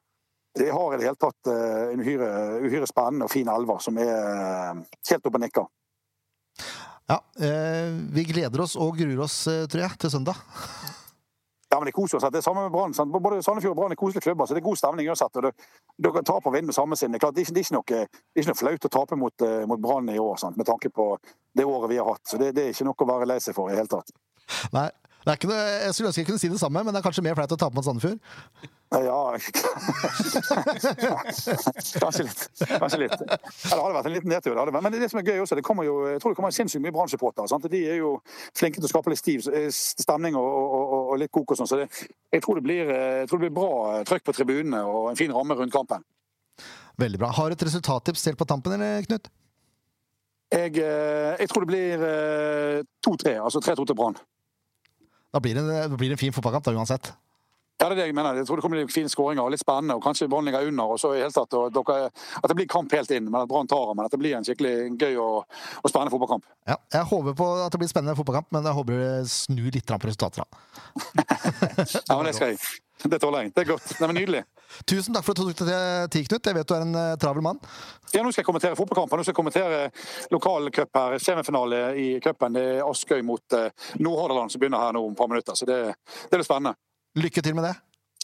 Speaker 5: de har i det hele tatt eh, en uhyre, uhyre spennende og fin elver som er eh, helt oppe og nikker.
Speaker 1: Ja, eh, Vi gleder oss og gruer oss, eh, tror jeg, til søndag.
Speaker 5: Ja, men Det koser oss. Det er samme med Brann. sant? Både Sandefjord og Brann er koselige klubber, så det er god stemning uansett. og det- Dere taper og vinner med samme sinn. Det er klart, det er ikke, det er ikke, noe, det er ikke noe flaut å tape mot, eh, mot Brann i år, sant? med tanke på det året vi har hatt. Så det, det er ikke noe å være lei seg for i det hele tatt.
Speaker 1: Nei, det er ikke noe, Jeg skulle ønske jeg kunne si det samme, men det er kanskje mer flaut å tape mot Sandefjord.
Speaker 5: Eh, Ja Kanskje litt. Kanskje litt. Ja, det hadde vært en liten nedtur. det hadde vært. Men det som er gøy også, det kommer jo, jeg tror det kommer sinnssykt mye Brann-supportere. sant? De er jo flinke til å skape litt stiv eh, stemning og, og, og- og litt kok og sånn. Så det, jeg, tror det blir, eh, jeg tror det blir bra eh, trøkk på tribunene og en fin ramme rundt kampen.
Speaker 1: Veldig bra. Har du et resultattips helt på tampen, eller, Knut?
Speaker 5: Jeg, eh, jeg tror det blir eh, 2-3. Altså 3-2 til Brann.
Speaker 1: Da blir det, da blir det en fin fotballkamp, da, uansett.
Speaker 5: Ja, det er det jeg mener. Jeg tror det kommer til å bli fine skåringer og litt spennende. og Kanskje Brann ligger under. og så i hele tatt, og dere, At det blir kamp helt inn, men at Brann tar den. Men at det blir en skikkelig gøy og, og spennende fotballkamp.
Speaker 1: Ja, jeg håper på at det blir spennende fotballkamp, men jeg håper det snur litt grann på resultater. da.
Speaker 5: Ja, men Det skal jeg. Det tåler jeg. Det er godt. Det er nydelig.
Speaker 1: Tusen takk for at du tok deg tid, Knut. Jeg vet du er en eh, travel mann.
Speaker 5: Ja, Nå skal jeg kommentere fotballkampen. Nå skal jeg kommentere lokal cup her. Semifinale i cupen. Det er Askøy mot eh, Nordhordaland som begynner her nå om et par minutter. Så det, det blir spennende.
Speaker 1: Lykke til med det.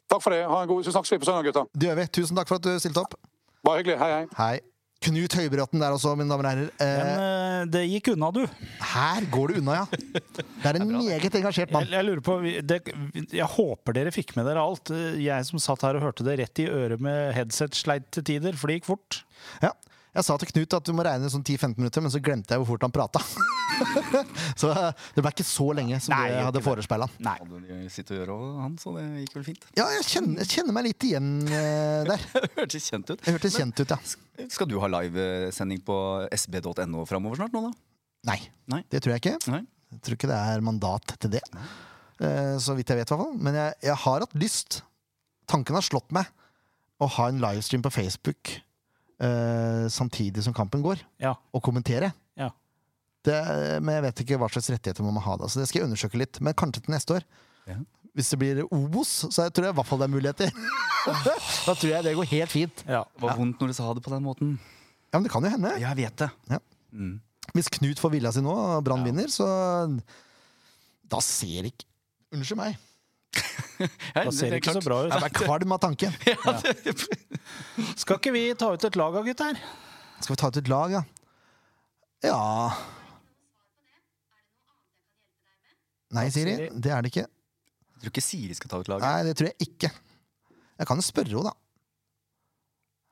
Speaker 5: Takk for det. Ha en god Så snakkes vi på søndag, gutta.
Speaker 1: Det gjør vi. Tusen takk for at du stilte opp.
Speaker 5: Bare hyggelig. Hei, hei.
Speaker 1: Hei. Knut Høybråten der også, mine damer og herrer.
Speaker 2: Men
Speaker 1: Eh,
Speaker 2: eh, det gikk unna, du.
Speaker 1: her går det unna, ja. Det er en meget engasjert
Speaker 2: Jeg,
Speaker 1: mann.
Speaker 2: jeg lurer på, vi- det, jeg håper dere fikk med dere alt. Eh, Jeg som satt her og hørte det rett i øret med headset sleit til tider, for det gikk fort.
Speaker 1: Ja. Jeg sa til Knut at du må regne sånn 10-15 minutter, men så glemte jeg hvor fort han prata. så eh, det ble ikke så lenge som
Speaker 2: Nei,
Speaker 1: det
Speaker 2: gjør
Speaker 1: jeg
Speaker 2: ikke
Speaker 1: hadde forespeila.
Speaker 2: Nei.
Speaker 3: Hadde de sitt å gjøre også, han, så det gikk vel fint.
Speaker 1: Ja, jeg kjenner, jeg kjenner meg litt igjen eh, der.
Speaker 3: Hørtes kjent ut.
Speaker 1: Det hørtes kjent ut, ja.
Speaker 3: Skal du ha livesending på sb.no framover snart nå, da?
Speaker 1: Nei,
Speaker 3: Nei.
Speaker 1: det tror jeg ikke.
Speaker 3: Nei.
Speaker 1: Jeg tror ikke det er mandat til det. Eh, Så vidt jeg vet, i hvert fall. Men jeg, jeg har hatt lyst. Tanken har slått meg å ha en livestream på Facebook eh, samtidig som kampen går,
Speaker 2: Ja.
Speaker 1: og kommentere.
Speaker 2: Ja.
Speaker 1: Det, men jeg vet ikke hva slags rettigheter man må ha da, så det skal jeg undersøke litt. Men kanskje til neste år.
Speaker 3: Ja.
Speaker 1: Hvis det blir Obos, så jeg tror jeg i hvert fall det er muligheter. da tror jeg det går helt fint.
Speaker 2: ja.
Speaker 3: Det var vondt når du sa det på den måten.
Speaker 1: Ja, men det kan jo hende.
Speaker 3: Jeg vet det.
Speaker 1: Ja.
Speaker 3: Mm.
Speaker 1: Hvis Knut får vilja si nå, og Brann vinner, så Da ser ikke Unnskyld meg.
Speaker 2: Da ser det ikke så bra ut.
Speaker 1: Jeg er kvalm av tanken.
Speaker 2: Skal ikke vi ta ut et lag av gutter?
Speaker 1: Skal vi ta ut et lag, ja? Ja Nei, Siri. Det er det ikke.
Speaker 3: Jeg tror ikke Siri skal ta ut laget.
Speaker 1: Nei, det tror jeg ikke. Jeg kan jo spørre henne, da.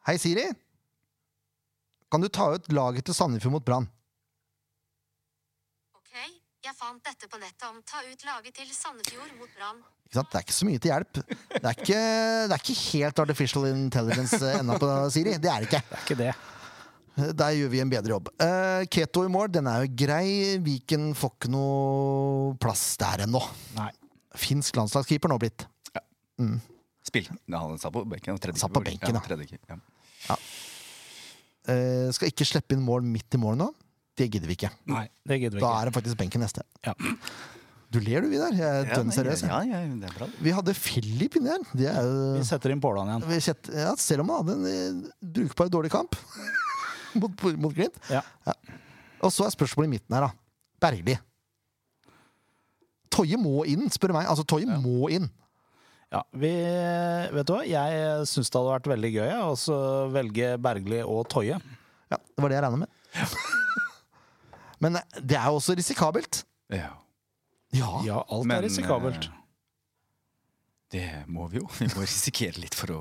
Speaker 1: Hei, Siri. Kan du ta ut laget til Sandefjord mot Brann?
Speaker 6: Ok, jeg fant dette på nettet om ta ut laget til Sandefjord mot Brann.
Speaker 1: Ikke sant? Det er ikke så mye til hjelp. Det er ikke, det er ikke helt artificial intelligence eh, ennå på Siri. Det er det ikke.
Speaker 2: Det er ikke det.
Speaker 1: Der gjør vi en bedre jobb. Eh, Keto i mål, den er jo grei. Viken får ikke noe plass der ennå.
Speaker 2: Nei.
Speaker 1: Finsk landslagskeeper nå blitt.
Speaker 3: Spill. Nei, han satt på benken. og Tredje
Speaker 1: Satt på
Speaker 3: keeper.
Speaker 1: benken, da.
Speaker 3: ja. Tredje, keeper, ja.
Speaker 1: Eh, skal ikke slippe inn mål midt i mål nå. Det gidder vi ikke.
Speaker 2: Nei, det gidder vi
Speaker 1: Da
Speaker 2: ikke.
Speaker 1: er det faktisk benken neste.
Speaker 2: Ja.
Speaker 1: Du ler du, Vidar. Jeg er
Speaker 3: Ja,
Speaker 1: dønn
Speaker 3: nei,
Speaker 1: seriøs. jeg.
Speaker 3: Ja, ja, det er bra. det.
Speaker 1: Vi hadde Philip inni her. Det er jo
Speaker 2: Vi setter inn Pålan igjen.
Speaker 1: vi kjent- ja, Selv om han hadde en eh, brukbar dårlig kamp mot, mot Glimt.
Speaker 2: Ja.
Speaker 1: Og så er spørsmålet i midten her, da. Bergli. Toje må inn, spør du meg. Altså, Toje må inn.
Speaker 2: Ja, vi, vet du hva? Jeg syns det hadde vært veldig gøy ja, å så velge Bergli og Toje.
Speaker 1: Ja, det var det jeg regna med. Men eh, det er jo også risikabelt.
Speaker 3: Ja.
Speaker 1: Ja.
Speaker 2: Ja, alt
Speaker 3: Men,
Speaker 2: er risikabelt.
Speaker 3: eh, Det må vi jo. Vi må risikere litt for å,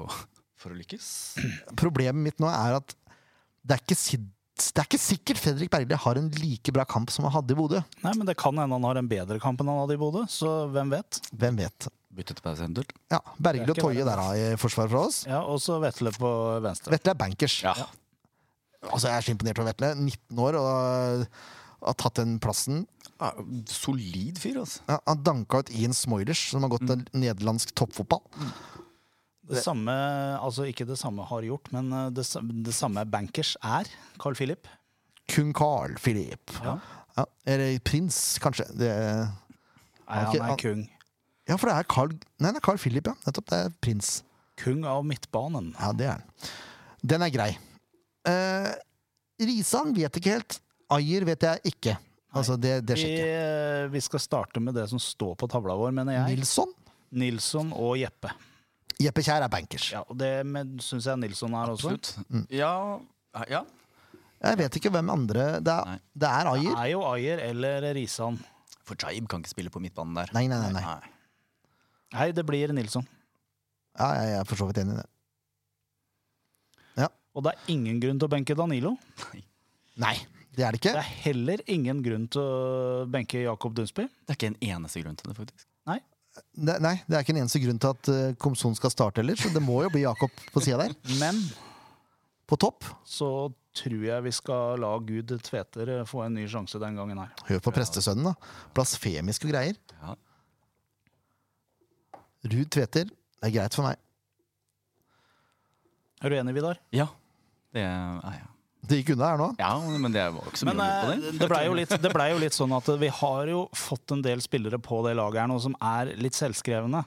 Speaker 3: for å lykkes.
Speaker 1: Problemet mitt nå er at det er ikke, si- det er ikke sikkert Fredrik Bergli har en like bra kamp som han hadde i Bodø.
Speaker 2: Nei, men det kan hende han har en bedre kamp enn han hadde i Bodø, så hvem vet?
Speaker 1: Hvem vet.
Speaker 3: Bytte til pause eventuelt.
Speaker 1: Ja, Bergli
Speaker 2: Det er
Speaker 1: og
Speaker 2: ikke
Speaker 1: Toje
Speaker 2: verre.
Speaker 1: der har jeg forsvar fra oss.
Speaker 2: Ja, og så Vetle på venstre.
Speaker 1: Vetle er bankers.
Speaker 3: Ja.
Speaker 1: Altså, Jeg er så imponert over Vetle. 19 år og har tatt den plassen.
Speaker 3: Ja, Solid fyr, altså.
Speaker 1: Ja, han danka ut Ian Smoilers, som har gått til nederlandsk toppfotball.
Speaker 2: Det samme, altså ikke det samme har gjort, men eh, det, sa- det samme bankers er Carl Philip.
Speaker 1: Kun Carl Philip.
Speaker 2: Ja.
Speaker 1: Ja, eller prins, kanskje. Det Ok,
Speaker 2: Nei, han
Speaker 1: han-
Speaker 2: er kung.
Speaker 1: Ja, for det er Carl Nei, det er Carl Philip, ja. Nettopp. Det er prins.
Speaker 2: Kung av midtbanen.
Speaker 1: Ja, det er han. Den er grei. Eh, Risan vet ikke helt. Ajer vet jeg ikke. Altså, det, det
Speaker 2: Vi,
Speaker 1: sjekker jeg.
Speaker 2: eh, vi skal starte med det som står på tavla vår, mener jeg.
Speaker 1: Nilsson.
Speaker 2: Nilsson og Jeppe.
Speaker 1: Jeppe Kjær er bankers.
Speaker 2: Ja, og det syns jeg Nilsson er også.
Speaker 3: Absolutt. Ja, ja.
Speaker 1: Jeg vet ikke hvem andre Det
Speaker 3: Nei.
Speaker 1: er, det er
Speaker 2: Det
Speaker 1: Ajer.
Speaker 2: er jo Ayer eller Risan.
Speaker 3: For Jaib kan ikke spille på midtbanen der.
Speaker 1: Nei, nei, nei. nei.
Speaker 2: Nei, det blir Nilsson.
Speaker 1: Ja, jeg jeg er for så vidt enig i det.
Speaker 2: Og det er ingen grunn til å benke Danilo.
Speaker 1: Nei, det er det
Speaker 2: Det
Speaker 1: ikke.
Speaker 2: er heller ingen grunn til å benke Jakob Dunsby.
Speaker 3: Det er ikke en eneste grunn til det, faktisk.
Speaker 1: Ne- Nei, det er ikke en eneste grunn til at eh, Komson skal starte heller, så det må jo bli Jakob på sida der.
Speaker 2: Men
Speaker 1: på topp.
Speaker 2: så tror jeg vi skal la Gud Tveter eh, få en ny sjanse den gangen her.
Speaker 1: Hør på prestesønnen, da. Blasfemiske greier.
Speaker 3: Ja.
Speaker 1: Ruud Tveter. Det er greit for meg.
Speaker 2: Er du enig, Vidar?
Speaker 3: Ja, det er jeg.
Speaker 1: Det gikk unna her nå.
Speaker 3: Ja, men det var ikke så mye
Speaker 2: Men
Speaker 3: å
Speaker 2: eh,
Speaker 3: lure på det.
Speaker 2: det blei jo, litt- det ble jo litt sånn at eh, vi har jo fått en del spillere på det laget her nå som er litt selvskrevne.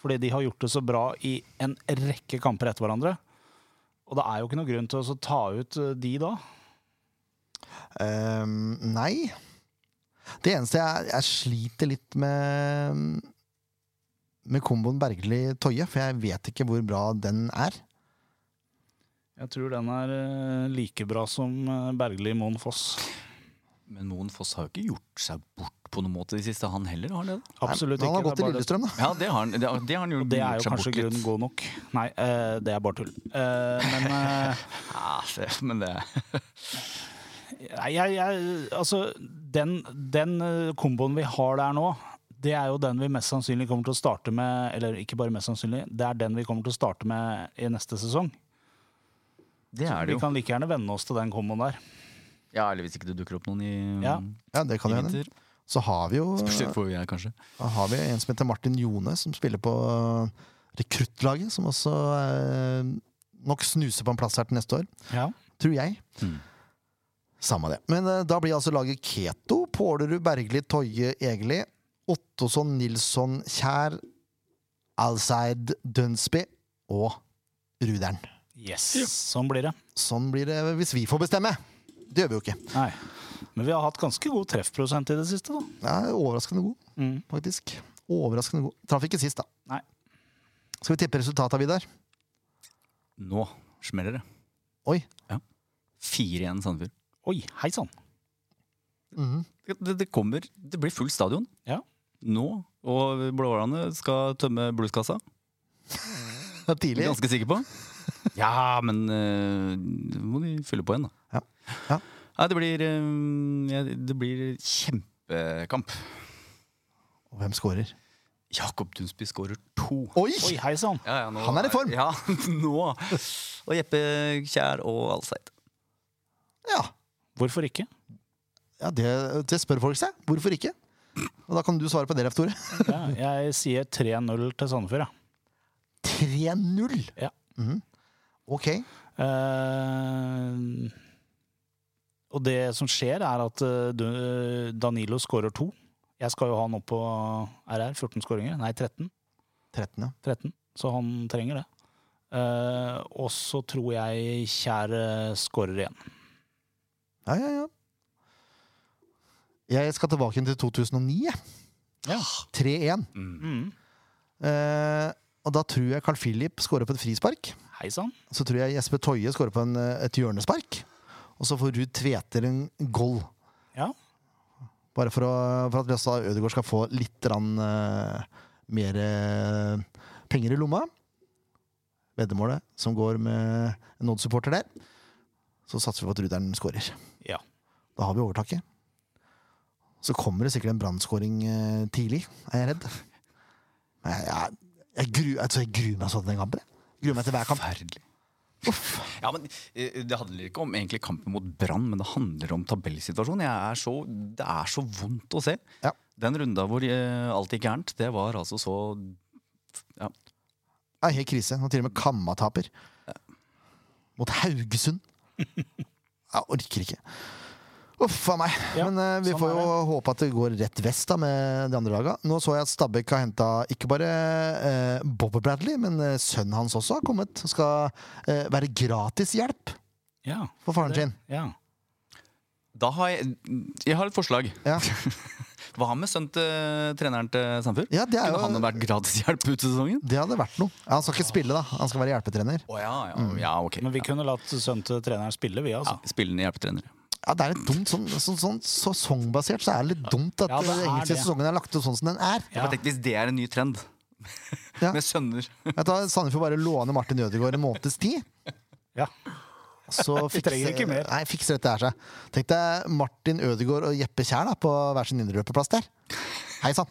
Speaker 2: Fordi de har gjort det så bra i en rekke kamper etter hverandre. Og det er jo ikke noe grunn til å så ta ut eh, de da.
Speaker 1: Ehm, nei. Det eneste jeg, jeg sliter litt med med komboen Bergli-Toje, for jeg vet ikke hvor bra den er.
Speaker 2: Jeg tror den er eh, like bra som eh, Bergli Moen Foss.
Speaker 3: Men Moen Foss har jo ikke gjort seg bort på noen måte i det siste, han heller? har han det da?
Speaker 2: Absolutt
Speaker 1: Nei, men Han
Speaker 2: ikke.
Speaker 1: har gått
Speaker 2: det
Speaker 1: til
Speaker 2: er bare det-
Speaker 1: Lillestrøm, da.
Speaker 3: Ja, det har han, det, har- det har han gjort,
Speaker 2: Det er jo
Speaker 3: gjort seg
Speaker 2: kanskje
Speaker 3: bort litt.
Speaker 2: grunnen god nok. Nei, eh, det er bare tull. Eh, men eh,
Speaker 3: Ja, det, men det
Speaker 2: Nei, jeg, jeg, altså, den, den eh, komboen vi har der nå, det er jo den vi mest sannsynlig kommer til å starte med Eller ikke bare mest sannsynlig, det er den vi kommer til å starte med i neste sesong.
Speaker 3: Det er det
Speaker 2: Vi
Speaker 3: jo.
Speaker 2: kan like gjerne venne oss til den komboen der.
Speaker 3: Ja, Eller hvis ikke det dukker opp noen i,
Speaker 2: Ja.
Speaker 1: Ja, det kan
Speaker 3: i
Speaker 1: jo hende.
Speaker 3: vinter.
Speaker 1: Så har vi jo
Speaker 3: Plutselig får jeg kanskje.
Speaker 1: har vi en som heter Martin Jone, som spiller på øh, rekruttlaget, som også øh, nok snuser på en plass her til neste år,
Speaker 2: Ja.
Speaker 1: tror jeg.
Speaker 3: Mm.
Speaker 1: Samme det. Men øh, da blir altså laget Keto, Pålerud, Bergli, Toje, Egeli, Ottosson, Nilsson, Kjær, Alseid, Dunsby og Ruderen.
Speaker 2: Yes, sånn blir det.
Speaker 1: Sånn blir det hvis vi får bestemme. Det gjør vi jo ikke.
Speaker 2: Nei. Men vi har hatt ganske god treffprosent i det siste, da.
Speaker 1: Jeg er overraskende god,
Speaker 2: Mm.
Speaker 1: faktisk. Overraskende god. Traff ikke sist, da.
Speaker 2: Nei.
Speaker 1: Skal vi tippe resultatet, Vidar?
Speaker 3: Nå smeller det.
Speaker 1: Oi.
Speaker 3: Fire igjen Sandefjord.
Speaker 2: Oi, hei sann.
Speaker 1: Mhm.
Speaker 3: Det, det kommer Det blir full stadion.
Speaker 2: Ja.
Speaker 3: Nå. Og blåhålene skal tømme blueskassa.
Speaker 1: Det er tidlig.
Speaker 3: Ganske sikker på. Ja, men eh, nå må de fylle på igjen, da.
Speaker 1: Ja. Ja.
Speaker 3: Nei, det blir, eh, ja, det blir kjempekamp.
Speaker 1: Og hvem scorer?
Speaker 3: Jakob Dunsby skårer to.
Speaker 1: Oi!
Speaker 2: Oi, hei sann.
Speaker 3: Ja, ja, nå
Speaker 1: Han er i form.
Speaker 3: Ja, nå. Og Jeppe Kjær og Alseid.
Speaker 1: Ja,
Speaker 2: Hvorfor ikke?
Speaker 1: ja det, det spør folk seg. Hvorfor ikke? Og da kan du svare på det, Leif Tore.
Speaker 2: Ja, jeg sier 3-0 til Sandefjord, jeg.
Speaker 1: 3-0!
Speaker 2: Ja.
Speaker 1: Mhm. Ok.
Speaker 2: Eh, og det som skjer, er at eh, du- Danilo skårer to. Jeg skal jo ha han opp på RR. 14 skåringer. Nei, 13.
Speaker 1: 13. ja.
Speaker 2: 13. Så han trenger det. Eh, og så tror jeg Kjær skårer igjen.
Speaker 1: Ja, ja, ja. Jeg skal tilbake til 2009. jeg.
Speaker 2: Ja.
Speaker 1: 3-1.
Speaker 2: Mm.
Speaker 1: Eh, og da tror jeg Carl Philip scorer på et frispark.
Speaker 2: Hei sann.
Speaker 1: Så tror jeg Jesper Toje scorer på en, eh, et hjørnespark. Og så får Ruud Tveter en goal.
Speaker 2: Ja.
Speaker 1: Bare for, å, for at Bjøsta Ødegaard skal få litt grann, eh, mer eh, penger i lomma. Veddemålet som går med en Odd-supporter der. Så satser vi på at Ruderen skårer.
Speaker 2: Ja.
Speaker 1: Da har vi overtaket. Så kommer det sikkert en brannskåring eh, tidlig, er jeg redd. Men Jeg, jeg, jeg, gru, altså, jeg gruer meg sånn til den kampen. jeg. Gruer meg til hver kamp.
Speaker 3: Forferdelig. Ja, men eh, Det handler ikke om egentlig kampen mot Brann, men det handler om tabellsituasjonen. Jeg er så, det er så vondt å se.
Speaker 1: Ja.
Speaker 3: Den runda hvor eh, alt gikk gærent, det var altså så ja,
Speaker 1: Det er helt krise. Og til og med Kamma taper. Mot Haugesund. Jeg orker ikke. Uff a meg.
Speaker 2: Ja,
Speaker 1: Men eh, vi
Speaker 2: sånn
Speaker 1: får
Speaker 2: er
Speaker 1: jo håpe at det går rett vest da med de andre laga. Nå så jeg at Stabæk har henta ikke bare eh, Bobby Bradley, men eh, sønnen hans også har kommet. Skal eh, være gratis hjelp
Speaker 2: Ja.
Speaker 1: for faren sin.
Speaker 2: ja.
Speaker 3: Da har jeg Jeg har et forslag.
Speaker 1: Ja.
Speaker 3: Hva med sønnen til treneren til Sandefjord?
Speaker 1: Ja, det er
Speaker 3: Kunne
Speaker 1: jo-
Speaker 3: han vært gradishjelp ut sesongen?
Speaker 1: Det hadde vært noe. Ja, han skal ikke spille, da. Han skal være hjelpetrener.
Speaker 3: Å ja, ja,
Speaker 1: Mm.
Speaker 3: ja, ok.
Speaker 2: Men vi kunne latt sønnen til treneren spille, vi,
Speaker 3: Ja,
Speaker 2: altså.
Speaker 3: spillende hjelpetrenere.
Speaker 1: Ja, det er litt dumt, sånn, sånn, sånn Sesongbasert så er det litt dumt at
Speaker 2: Ja, det
Speaker 1: eh, den
Speaker 2: er
Speaker 1: engelske
Speaker 2: det.
Speaker 1: sesongen er lagt ut sånn som den er.
Speaker 3: Jeg bare tenkte, Hvis det er en ny trend
Speaker 1: Ja.
Speaker 3: med sønner
Speaker 1: Jeg tar Sandefjord bare låne Martin Ødegaard en måneds tid.
Speaker 2: Ja.
Speaker 1: Så
Speaker 2: Vi trenger ikke mer.
Speaker 1: Nei, fikser dette her seg. Tenk deg Martin Ødegaard og Jeppe Kjær da, på hver sin indreløperplass der. Hei sann.